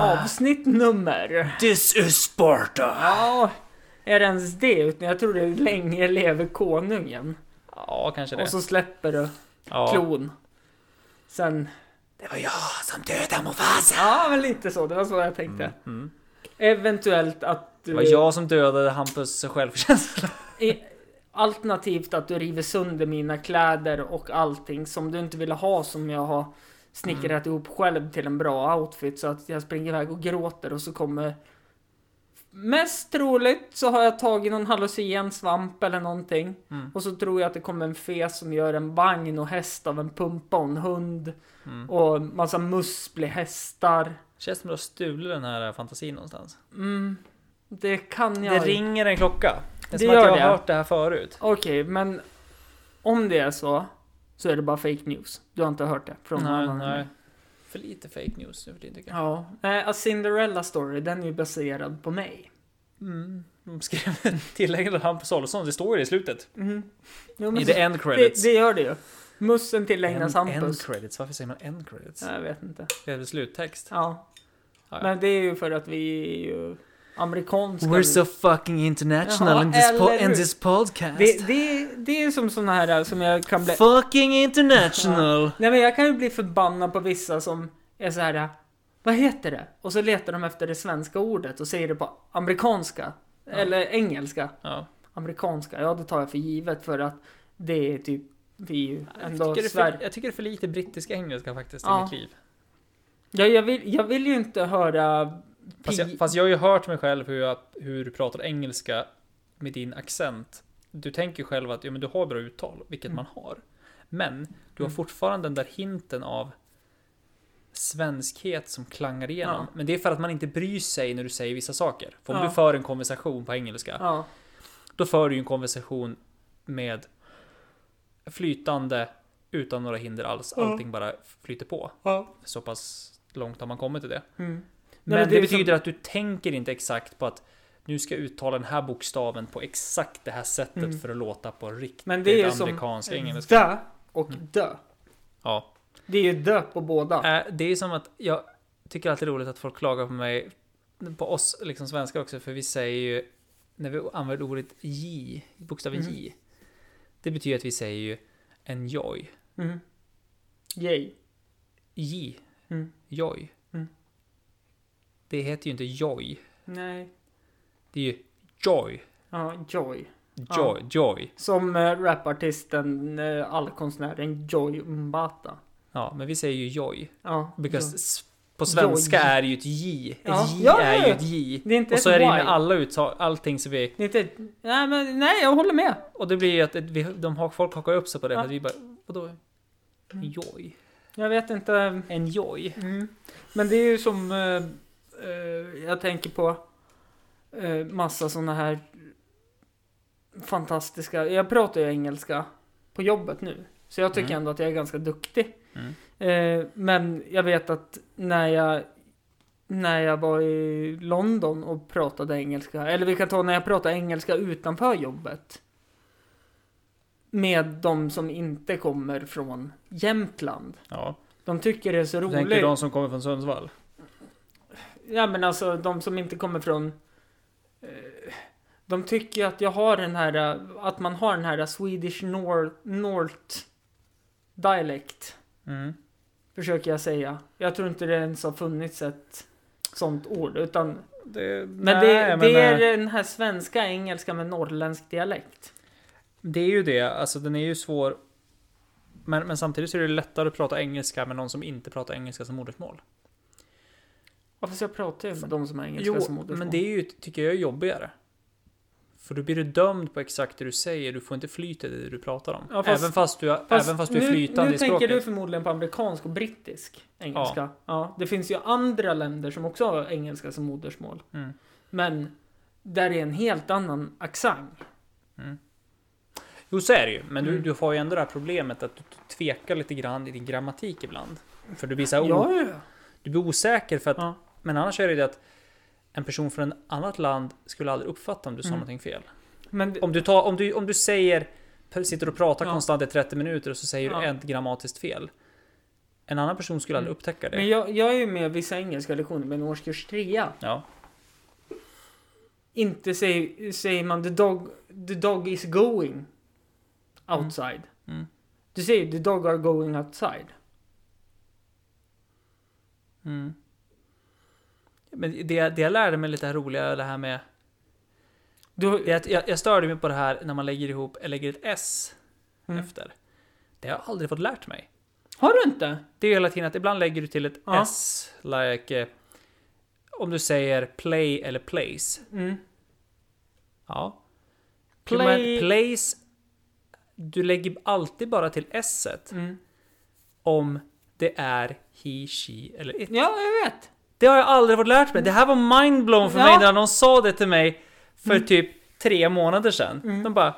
[SPEAKER 1] Avsnitt nummer.
[SPEAKER 2] This is Sparta!
[SPEAKER 1] Ja, är det ens det? Utan jag tror det är länge lever konungen.
[SPEAKER 2] Ja, kanske det.
[SPEAKER 1] Och så släpper du
[SPEAKER 2] ja.
[SPEAKER 1] klon. Sen...
[SPEAKER 2] Det var jag som dödade Mufasa!
[SPEAKER 1] Ja, men lite så. Det var så jag tänkte.
[SPEAKER 2] mm.
[SPEAKER 1] Eventuellt att
[SPEAKER 2] Det
[SPEAKER 1] du...
[SPEAKER 2] var jag som dödade Hampus självkänsla.
[SPEAKER 1] I- Alternativt att du river sönder mina kläder och allting som du inte ville ha som jag har snickrat
[SPEAKER 2] Mm.
[SPEAKER 1] ihop själv till en bra outfit så att jag springer iväg och gråter och så kommer Mest troligt så har jag tagit någon hallucinogen svamp eller någonting
[SPEAKER 2] Mm.
[SPEAKER 1] och så tror jag att det kommer en fes som gör en vagn och häst av en pumpa och en hund
[SPEAKER 2] *laughs* Mm.
[SPEAKER 1] och massa musplihästar.
[SPEAKER 2] Känns som du har stulit den här fantasin någonstans.
[SPEAKER 1] Mm, det kan jag
[SPEAKER 2] Det ringer en klocka. Det
[SPEAKER 1] Det
[SPEAKER 2] är som att
[SPEAKER 1] gör
[SPEAKER 2] jag har
[SPEAKER 1] det.
[SPEAKER 2] hört det här förut.
[SPEAKER 1] Okej, men om det är så så är det bara fake news. Du har inte hört det från någon
[SPEAKER 2] Nej,
[SPEAKER 1] annan? än
[SPEAKER 2] nej.
[SPEAKER 1] mig.
[SPEAKER 2] För lite fake news nu för tiden tycker jag.
[SPEAKER 1] Ja. Nej, A Cinderella Story, den är ju baserad på mig.
[SPEAKER 2] Mm. De *laughs* skrev tillägget av Hampus Ollosson, det står ju det i slutet.
[SPEAKER 1] Mm. Jo, så,
[SPEAKER 2] I the end
[SPEAKER 1] det,
[SPEAKER 2] credits.
[SPEAKER 1] det gör det ju. Mussen tillägnas
[SPEAKER 2] end, end
[SPEAKER 1] Hampus.
[SPEAKER 2] credits, varför säger man end credits?
[SPEAKER 1] Jag vet inte.
[SPEAKER 2] Det är väl sluttext?
[SPEAKER 1] Ja.
[SPEAKER 2] Ja, ja.
[SPEAKER 1] Men det är ju för att vi är ju amerikanska.
[SPEAKER 2] We're so fucking international
[SPEAKER 1] Jaha,
[SPEAKER 2] in, this po-
[SPEAKER 1] eller
[SPEAKER 2] in
[SPEAKER 1] hur?
[SPEAKER 2] this podcast.
[SPEAKER 1] det, det, det är som såna här som jag kan bli...
[SPEAKER 2] Fucking international!
[SPEAKER 1] Nej men jag kan ju bli förbannad på vissa som är så här. Vad heter det? Och så letar de efter det svenska ordet och säger det på amerikanska. Eller engelska.
[SPEAKER 2] Ja.
[SPEAKER 1] Amerikanska, ja det tar jag för givet för att det är typ vi är ju
[SPEAKER 2] Jag,
[SPEAKER 1] ändå
[SPEAKER 2] tycker det är för,
[SPEAKER 1] Sverige.
[SPEAKER 2] jag tycker det är för lite brittisk engelska faktiskt i
[SPEAKER 1] Ja.
[SPEAKER 2] mitt liv.
[SPEAKER 1] Ja, jag, vill, jag vill ju inte höra
[SPEAKER 2] Fast
[SPEAKER 1] pi-
[SPEAKER 2] jag, fast jag har ju hört mig själv hur, jag, hur du pratar engelska med din accent. Du tänker ju själv att ja, men du har bra uttal, vilket man har. Men du har
[SPEAKER 1] Mm.
[SPEAKER 2] fortfarande den där hinten av svenskhet som klangar igenom.
[SPEAKER 1] Ja.
[SPEAKER 2] Men det är för att man inte bryr sig när du säger vissa saker. För om
[SPEAKER 1] Ja.
[SPEAKER 2] du för en konversation på engelska,
[SPEAKER 1] Ja,
[SPEAKER 2] då för du ju en konversation med flytande utan några hinder alls.
[SPEAKER 1] Ja.
[SPEAKER 2] Allting bara flyter på. Så pass långt har man kommit till det.
[SPEAKER 1] mm.
[SPEAKER 2] Men,
[SPEAKER 1] Nej, men
[SPEAKER 2] det,
[SPEAKER 1] det är
[SPEAKER 2] betyder att du tänker inte exakt på att nu ska jag uttala den här bokstaven på exakt det här sättet
[SPEAKER 1] Mm.
[SPEAKER 2] för att låta på riktigt
[SPEAKER 1] Men det är ju som Mm.
[SPEAKER 2] amerikansk engelska. Mm.
[SPEAKER 1] dö och dö.
[SPEAKER 2] Ja.
[SPEAKER 1] Det är ju dö på båda.
[SPEAKER 2] Äh, Det är som att jag tycker alltid det är roligt att folk klagar på mig, på oss liksom svenskar också, för vi säger ju när vi använder ordet J, bokstaven
[SPEAKER 1] Mm.
[SPEAKER 2] J. Det betyder att vi säger ju enjoy.
[SPEAKER 1] Mm. Yay.
[SPEAKER 2] J.
[SPEAKER 1] Mm.
[SPEAKER 2] Joy.
[SPEAKER 1] Mm.
[SPEAKER 2] Det heter ju inte joy.
[SPEAKER 1] Nej.
[SPEAKER 2] Det är ju joy.
[SPEAKER 1] Ja, joy.
[SPEAKER 2] Joy. Joy.
[SPEAKER 1] Som äh, rapartisten, äh, allkonstnären Joy Mbata.
[SPEAKER 2] Ja, men vi säger ju joy.
[SPEAKER 1] Ja.
[SPEAKER 2] Because
[SPEAKER 1] joy.
[SPEAKER 2] s- på svenska
[SPEAKER 1] Joj.
[SPEAKER 2] är ju ett J. Ett
[SPEAKER 1] Ja.
[SPEAKER 2] J
[SPEAKER 1] Ja, ja,
[SPEAKER 2] är ju
[SPEAKER 1] ja.
[SPEAKER 2] ett J.
[SPEAKER 1] Det är inte
[SPEAKER 2] Och så
[SPEAKER 1] ett
[SPEAKER 2] är det ju
[SPEAKER 1] why.
[SPEAKER 2] med alla uttal, allting så vi...
[SPEAKER 1] Det är inte ett... Nej, men nej, jag håller med.
[SPEAKER 2] Och det blir ju att det- vi, de har, folk hakar upp sig på det för
[SPEAKER 1] Ja. Mm.
[SPEAKER 2] att vi bara... Vadå? Joy?
[SPEAKER 1] Jag vet inte.
[SPEAKER 2] Enjoy?
[SPEAKER 1] Mm. Men det är ju som eh, eh, jag tänker på eh, massa sådana här fantastiska. Jag pratar ju engelska på jobbet nu, så jag tycker
[SPEAKER 2] Mm.
[SPEAKER 1] ändå att jag är ganska duktig.
[SPEAKER 2] Mm.
[SPEAKER 1] Eh, men jag vet att när jag när jag var i London och pratade engelska, eller vi kan ta när jag pratade engelska utanför jobbet. Med de som inte kommer från Jämtland.
[SPEAKER 2] Ja.
[SPEAKER 1] De tycker det är så
[SPEAKER 2] Du
[SPEAKER 1] roligt.
[SPEAKER 2] tänker de som kommer från Sundsvall?
[SPEAKER 1] Ja men alltså de som inte kommer från... eh, De tycker ju att jag har den här, eh, att man har den här Swedish North, North dialect.
[SPEAKER 2] Mm.
[SPEAKER 1] Försöker jag säga. Jag tror inte det ens har funnits ett sånt ord. Utan,
[SPEAKER 2] Det,
[SPEAKER 1] men
[SPEAKER 2] nej,
[SPEAKER 1] det,
[SPEAKER 2] men,
[SPEAKER 1] det är
[SPEAKER 2] eh,
[SPEAKER 1] den här svenska engelska med norrländsk dialekt.
[SPEAKER 2] det är ju det. Alltså den är ju svår. Men, men samtidigt så är det lättare att prata engelska med någon som inte pratar engelska som modersmål.
[SPEAKER 1] Ja, fast jag pratar ju med de som har engelska
[SPEAKER 2] Jo,
[SPEAKER 1] som modersmål.
[SPEAKER 2] men det är ju, tycker jag, är jobbigare. För då blir du dömd på exakt det du säger, du får inte flyta i det du pratar om.
[SPEAKER 1] Ja, fast-
[SPEAKER 2] även, fast du, även fast du är
[SPEAKER 1] nu,
[SPEAKER 2] flytande
[SPEAKER 1] nu
[SPEAKER 2] i
[SPEAKER 1] tänker
[SPEAKER 2] språket.
[SPEAKER 1] du förmodligen på amerikansk och brittisk engelska. Ja. det finns ju andra länder som också har engelska som modersmål.
[SPEAKER 2] Mm.
[SPEAKER 1] Men där är en helt annan accent.
[SPEAKER 2] Jo, så är det ju. Men du,
[SPEAKER 1] Mm.
[SPEAKER 2] du har ju ändå det här problemet att du tvekar lite grann i din grammatik ibland. För du blir, så här, o-
[SPEAKER 1] Ja, ja, ja.
[SPEAKER 2] du blir osäker för att...
[SPEAKER 1] Ja.
[SPEAKER 2] Men annars är det ju det att en person från ett annat land skulle aldrig uppfatta om du sa
[SPEAKER 1] Mm.
[SPEAKER 2] någonting fel.
[SPEAKER 1] Men det-
[SPEAKER 2] Om du, tar, om du, om du säger, sitter och pratar
[SPEAKER 1] Ja.
[SPEAKER 2] konstant i 30 minuter och så säger
[SPEAKER 1] Ja. Mm.
[SPEAKER 2] du ett grammatiskt fel. En annan person skulle aldrig upptäcka det.
[SPEAKER 1] Men jag, jag är ju med vissa engelska lektioner med en årskurs trea.
[SPEAKER 2] Ja.
[SPEAKER 1] Inte säger, säger man the dog, the dog is going outside.
[SPEAKER 2] Mm.
[SPEAKER 1] Du säger the dog are going outside.
[SPEAKER 2] Mm. Men det, det jag lärde mig lite här roliga, det här med...
[SPEAKER 1] Du,
[SPEAKER 2] Det är att jag, jag störde mig på det här när man lägger ihop, eller lägger ett S
[SPEAKER 1] Mm.
[SPEAKER 2] efter. Det har jag aldrig fått lärt mig.
[SPEAKER 1] har du inte?
[SPEAKER 2] Det är ju hela tiden att ibland lägger du till ett
[SPEAKER 1] Ja.
[SPEAKER 2] S, like... eh, Om du säger play eller place.
[SPEAKER 1] Mm.
[SPEAKER 2] Ja.
[SPEAKER 1] Play-
[SPEAKER 2] Men place... Du lägger alltid bara till S
[SPEAKER 1] Mm.
[SPEAKER 2] om det är he, she eller it.
[SPEAKER 1] Ja, jag vet.
[SPEAKER 2] Det har jag aldrig fått lärt mig. Det här var mindblown för
[SPEAKER 1] Ja. Mm.
[SPEAKER 2] mig när någon sa det till mig för typ tre månader sedan. De bara...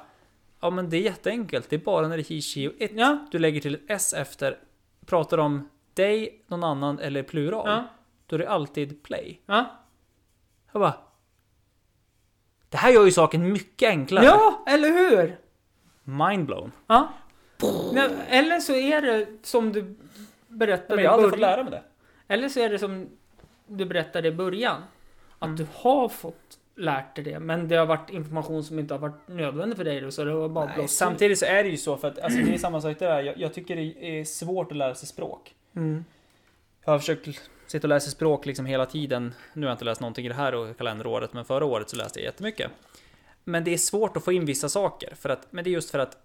[SPEAKER 2] Ja men det är jätteenkelt. Det är bara när det är he, she och it.
[SPEAKER 1] Ja.
[SPEAKER 2] Du lägger till ett s efter. Pratar om dig, någon annan eller plural.
[SPEAKER 1] Ja.
[SPEAKER 2] Då är det alltid play.
[SPEAKER 1] Ja.
[SPEAKER 2] Jag bara... Det här gör ju saken mycket enklare.
[SPEAKER 1] ja, eller hur?
[SPEAKER 2] Mindblown.
[SPEAKER 1] Ja. Nej, eller så är det som du berättade i början.
[SPEAKER 2] mig det.
[SPEAKER 1] Eller så är det som du berättade i början. Att du har fått lärt dig det, men det har varit information som inte har varit nödvändig för dig. då, Så det var bara
[SPEAKER 2] Nej,
[SPEAKER 1] blåst ut.
[SPEAKER 2] samtidigt så är det ju så för att alltså, det är samma sak där. Jag, jag tycker det är svårt att lära sig språk.
[SPEAKER 1] Mm.
[SPEAKER 2] Jag har försökt l- sitta och läsa språk liksom hela tiden. Nu har jag inte läst någonting i det här och kalenderåret, men förra året så läste jag jättemycket. Men det är svårt att få in vissa saker, för att, men det är just för att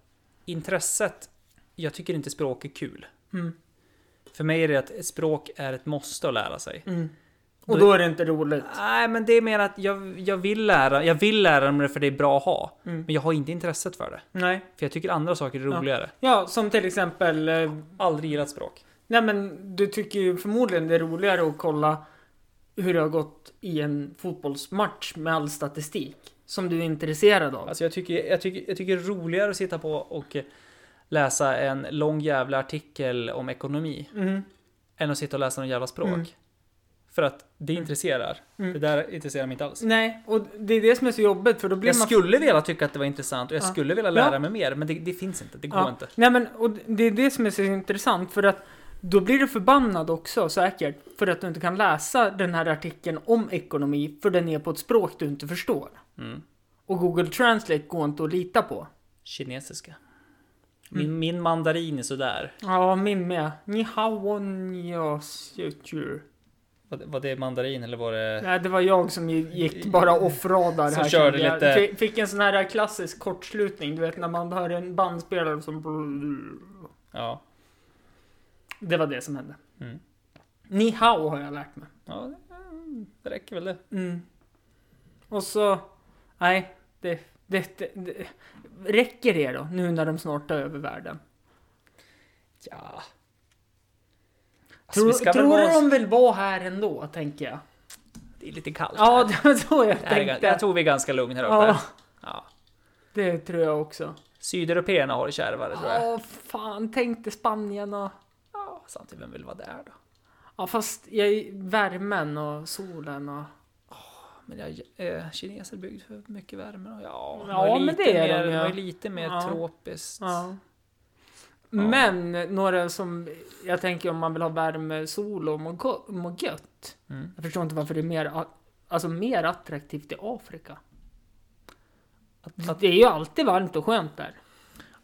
[SPEAKER 2] intresset, jag tycker inte språk är kul.
[SPEAKER 1] Mm.
[SPEAKER 2] För mig är det att ett språk är ett måste att lära sig.
[SPEAKER 1] Mm. Och då är det inte roligt.
[SPEAKER 2] Nej, men det är mer att jag, jag vill lära jag vill lära mig det för det är bra att ha.
[SPEAKER 1] Mm.
[SPEAKER 2] Men jag har inte intresset för det.
[SPEAKER 1] Nej.
[SPEAKER 2] För jag tycker andra saker är
[SPEAKER 1] Ja.
[SPEAKER 2] roligare.
[SPEAKER 1] Ja, som till exempel. eh,
[SPEAKER 2] Aldrig gillat språk.
[SPEAKER 1] Nej men du tycker ju förmodligen det är roligare att kolla hur det har gått i en fotbollsmatch med all statistik. Som du är intresserad av.
[SPEAKER 2] Alltså jag tycker, jag tycker, jag tycker det är roligare att sitta på och eh, läsa en lång jävla artikel om ekonomi
[SPEAKER 1] Mm.
[SPEAKER 2] än att sitta och läsa någon jävla språk.
[SPEAKER 1] Mm.
[SPEAKER 2] För att det intresserar. Det där intresserar mig inte alls.
[SPEAKER 1] Nej, och det är det som är så jobbigt för då blir
[SPEAKER 2] Jag
[SPEAKER 1] man...
[SPEAKER 2] skulle vilja tycka att det var intressant och jag
[SPEAKER 1] Ja.
[SPEAKER 2] skulle vilja
[SPEAKER 1] Ja.
[SPEAKER 2] lära mig mer, men det, det finns inte. Det går
[SPEAKER 1] Ja.
[SPEAKER 2] inte.
[SPEAKER 1] Nej men och det är det som är så intressant för att då blir du förbannad också säkert för att du inte kan läsa den här artikeln om ekonomi för den är på ett språk du inte förstår.
[SPEAKER 2] Mm.
[SPEAKER 1] Och Google Translate går inte att lita på.
[SPEAKER 2] Kinesiska.
[SPEAKER 1] Mm.
[SPEAKER 2] Min, min mandarin är sådär.
[SPEAKER 1] Ja, min med. Ni hao ni
[SPEAKER 2] Var det, var det mandarin eller var det...
[SPEAKER 1] Nej, det var jag som gick bara off-radar
[SPEAKER 2] Som
[SPEAKER 1] här.
[SPEAKER 2] körde
[SPEAKER 1] kände jag.
[SPEAKER 2] lite-
[SPEAKER 1] Fick- Fick en sån här klassisk kortslutning, du vet när man hör en bandspelare som...
[SPEAKER 2] Ja.
[SPEAKER 1] Det var det som hände.
[SPEAKER 2] Mm.
[SPEAKER 1] Ni hao har jag lärt mig.
[SPEAKER 2] ja. Det räcker väl det.
[SPEAKER 1] Mm. Och så... Nej, det, det, det, det... Räcker det då, nu när de snart tar över världen?
[SPEAKER 2] Ja. Alltså, vi
[SPEAKER 1] Tror,
[SPEAKER 2] ska väl
[SPEAKER 1] tror du
[SPEAKER 2] vara-
[SPEAKER 1] de vill vara här ändå, tänker jag?
[SPEAKER 2] Det är lite kallt.
[SPEAKER 1] Ja, det var så jag
[SPEAKER 2] Det här är, gan-
[SPEAKER 1] tänkte.
[SPEAKER 2] jag tror vi är ganska lugna här uppe.
[SPEAKER 1] Ja,
[SPEAKER 2] Ja.
[SPEAKER 1] det tror jag också.
[SPEAKER 2] Sydeuropéerna har det kärvare tror jag.
[SPEAKER 1] Ja, fan, tänkte Spanien och...
[SPEAKER 2] Ja, samtidigt, vem vill vara där då?
[SPEAKER 1] Ja fast jag, värmen och solen och...
[SPEAKER 2] Men jag, eh, kineser är byggd för mycket värme. Och ja,
[SPEAKER 1] Ja,
[SPEAKER 2] var ju
[SPEAKER 1] men
[SPEAKER 2] lite
[SPEAKER 1] det är
[SPEAKER 2] mer,
[SPEAKER 1] de, ja.
[SPEAKER 2] var ju lite mer
[SPEAKER 1] Ja.
[SPEAKER 2] tropiskt.
[SPEAKER 1] Ja. Men några som jag tänker om man vill ha värme, sol och må, go- må gött.
[SPEAKER 2] Mm.
[SPEAKER 1] Jag förstår inte varför det är mer, a- alltså, mer attraktivt i Afrika.
[SPEAKER 2] Att, att,
[SPEAKER 1] Det är ju alltid varmt och skönt där.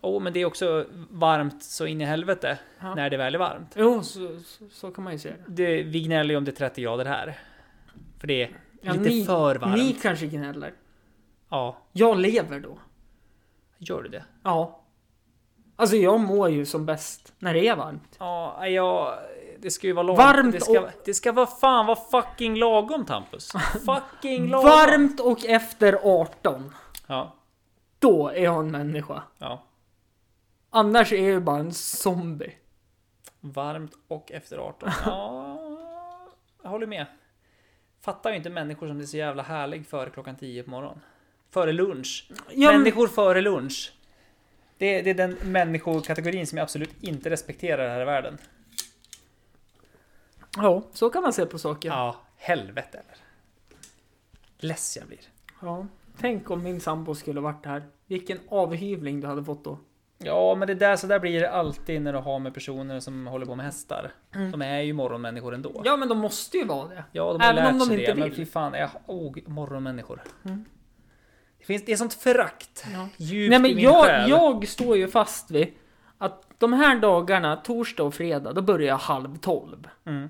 [SPEAKER 2] oh, men det är också varmt så in i helvete
[SPEAKER 1] Ja.
[SPEAKER 2] när det väl är varmt.
[SPEAKER 1] Jo, så, så, så kan man ju se det.
[SPEAKER 2] Det, vi gnäller ju om det är 30 grader här. För det är
[SPEAKER 1] Ja,
[SPEAKER 2] lite
[SPEAKER 1] ni-
[SPEAKER 2] för varmt.
[SPEAKER 1] Ni kanske gnäller.
[SPEAKER 2] Ja,
[SPEAKER 1] Jag lever då.
[SPEAKER 2] gör du det?
[SPEAKER 1] Ja. Alltså jag mår ju som bäst när det är varmt.
[SPEAKER 2] Ja, jag... Det ska ju vara lagom.
[SPEAKER 1] Varmt
[SPEAKER 2] det ska,
[SPEAKER 1] och-
[SPEAKER 2] det ska vara
[SPEAKER 1] *laughs*
[SPEAKER 2] fan vara fucking lagom Tampus. fucking lagom.
[SPEAKER 1] Varmt och efter 18.
[SPEAKER 2] Ja.
[SPEAKER 1] Då är hon människa.
[SPEAKER 2] ja.
[SPEAKER 1] Annars är jag bara en zombie.
[SPEAKER 2] Varmt och efter *laughs* 18. Ja, jag håller med. Fattar ju inte människor som blir så jävla härlig före klockan 10 på morgonen. Före lunch.
[SPEAKER 1] Ja, men,
[SPEAKER 2] Människor före lunch. Det, det är den människokategorin som jag absolut inte respekterar här i världen.
[SPEAKER 1] ja, så kan man se på saker.
[SPEAKER 2] Ja,
[SPEAKER 1] Ja.
[SPEAKER 2] helvete eller. Less jag blir.
[SPEAKER 1] Tänk om min sambo skulle varit här. Vilken avhyvling du hade fått då.
[SPEAKER 2] Ja, men det där, så där blir det alltid när du har med personer som håller på med hästar. De är ju morgonmänniskor ändå.
[SPEAKER 1] Ja, men de måste ju vara det.
[SPEAKER 2] Ja, de har
[SPEAKER 1] Även
[SPEAKER 2] lärt
[SPEAKER 1] om de
[SPEAKER 2] sig
[SPEAKER 1] inte
[SPEAKER 2] det. Men
[SPEAKER 1] vill. Mm.
[SPEAKER 2] fy fan, jag, oh, morgonmänniskor. Det, finns, det är sånt förakt.
[SPEAKER 1] Ja.
[SPEAKER 2] Djupt
[SPEAKER 1] Nej, men
[SPEAKER 2] i min
[SPEAKER 1] jag,
[SPEAKER 2] själ.
[SPEAKER 1] jag står ju fast vid att de här dagarna, torsdag och fredag, då börjar jag halv tolv.
[SPEAKER 2] Mm.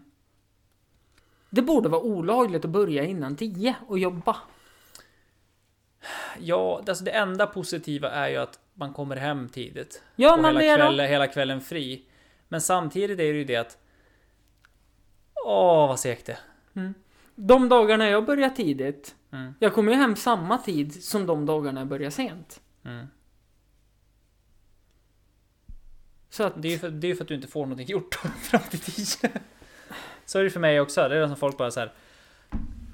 [SPEAKER 1] Det borde vara olagligt att börja innan tio och jobba.
[SPEAKER 2] Ja, alltså det enda positiva är ju att man kommer hem tidigt.
[SPEAKER 1] Ja,
[SPEAKER 2] och
[SPEAKER 1] men det
[SPEAKER 2] hela,
[SPEAKER 1] är då-
[SPEAKER 2] kvällen, hela kvällen fri. Men samtidigt är det ju det att... Åh, vad segt det
[SPEAKER 1] De dagarna jag börjar tidigt,
[SPEAKER 2] Mm.
[SPEAKER 1] jag kommer ju hem samma tid som de dagarna jag börjar sent.
[SPEAKER 2] mm.
[SPEAKER 1] Så att,
[SPEAKER 2] Det är ju för, det är ju för att du inte får någonting gjort *laughs* fram till tio. Så är det för mig också. Det är som folk bara så här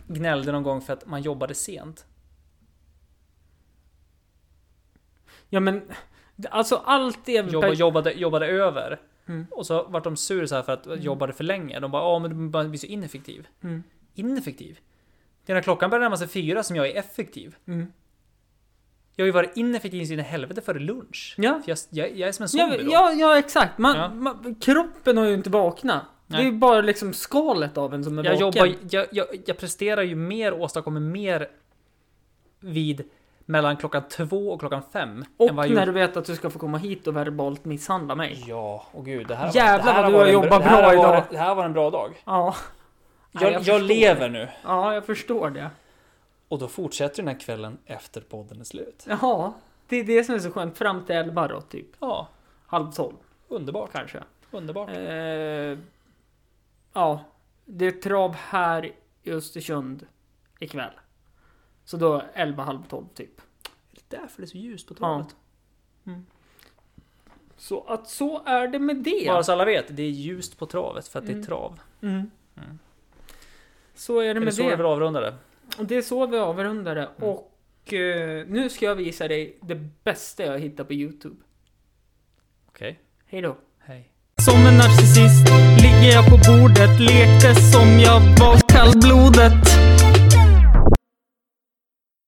[SPEAKER 2] gnällde någon gång för att man jobbade sent.
[SPEAKER 1] ja men, alltså allt det...
[SPEAKER 2] Jobba, jobbade, jobbade över.
[SPEAKER 1] Mm.
[SPEAKER 2] Och så vart de sur så här för att jag jobbade för länge. De bara ja men du bara blir så ineffektiv.
[SPEAKER 1] Mm.
[SPEAKER 2] Ineffektiv? Det är när klockan börjar närma sig fyra som jag är effektiv.
[SPEAKER 1] Mm.
[SPEAKER 2] Jag har ju varit ineffektiv in i helvete före lunch.
[SPEAKER 1] Ja.
[SPEAKER 2] För jag, jag, jag är som en
[SPEAKER 1] Ja,
[SPEAKER 2] zombie då.
[SPEAKER 1] ja, ja exakt. Man,
[SPEAKER 2] Ja.
[SPEAKER 1] Man, kroppen har ju inte vaknat.
[SPEAKER 2] Nej.
[SPEAKER 1] Det är ju bara liksom skalet av en som är
[SPEAKER 2] Jag,
[SPEAKER 1] vaken.
[SPEAKER 2] jobbar, jag, jag, jag presterar ju mer och åstadkommer mer vid mellan klockan två och klockan fem.
[SPEAKER 1] Och
[SPEAKER 2] än vad jag
[SPEAKER 1] när du
[SPEAKER 2] gjorde-
[SPEAKER 1] vet att du ska få komma hit och verbalt misshandla mig.
[SPEAKER 2] Ja, och gud. Det här,
[SPEAKER 1] Jävlar
[SPEAKER 2] det
[SPEAKER 1] vad du
[SPEAKER 2] här var
[SPEAKER 1] har
[SPEAKER 2] en-
[SPEAKER 1] jobbat
[SPEAKER 2] det här
[SPEAKER 1] bra
[SPEAKER 2] var-
[SPEAKER 1] idag.
[SPEAKER 2] Det här var en bra dag.
[SPEAKER 1] Ja. Nej,
[SPEAKER 2] Jag,
[SPEAKER 1] förstår.
[SPEAKER 2] jag lever nu.
[SPEAKER 1] Ja, jag förstår det.
[SPEAKER 2] Och då fortsätter den här kvällen efter podden är slut.
[SPEAKER 1] Jaha. Det är det som är så skönt. Fram till elva då, typ.
[SPEAKER 2] Ja,
[SPEAKER 1] Halv tolv,
[SPEAKER 2] underbart.
[SPEAKER 1] kanske.
[SPEAKER 2] Underbart.
[SPEAKER 1] Eh, ja. Det är trav här i Östersund ikväll. Så då elva, halv tolv, typ.
[SPEAKER 2] Det är därför det är så ljust på
[SPEAKER 1] Ja.
[SPEAKER 2] torget.
[SPEAKER 1] Så att så är det med det.
[SPEAKER 2] Bara så alla vet, det är ljust på travet för att det är trav.
[SPEAKER 1] Mm. Så är det
[SPEAKER 2] Är det Mm.
[SPEAKER 1] med
[SPEAKER 2] så
[SPEAKER 1] det.
[SPEAKER 2] du vill avrunda det?
[SPEAKER 1] Och Det är så vi avrundar det. Och eh, nu ska jag visa dig det bästa jag hittar på Youtube.
[SPEAKER 2] Okej,
[SPEAKER 1] Hej då.
[SPEAKER 2] hej.
[SPEAKER 1] Som en narcissist ligger jag på bordet, lekte som jag var kallblodet.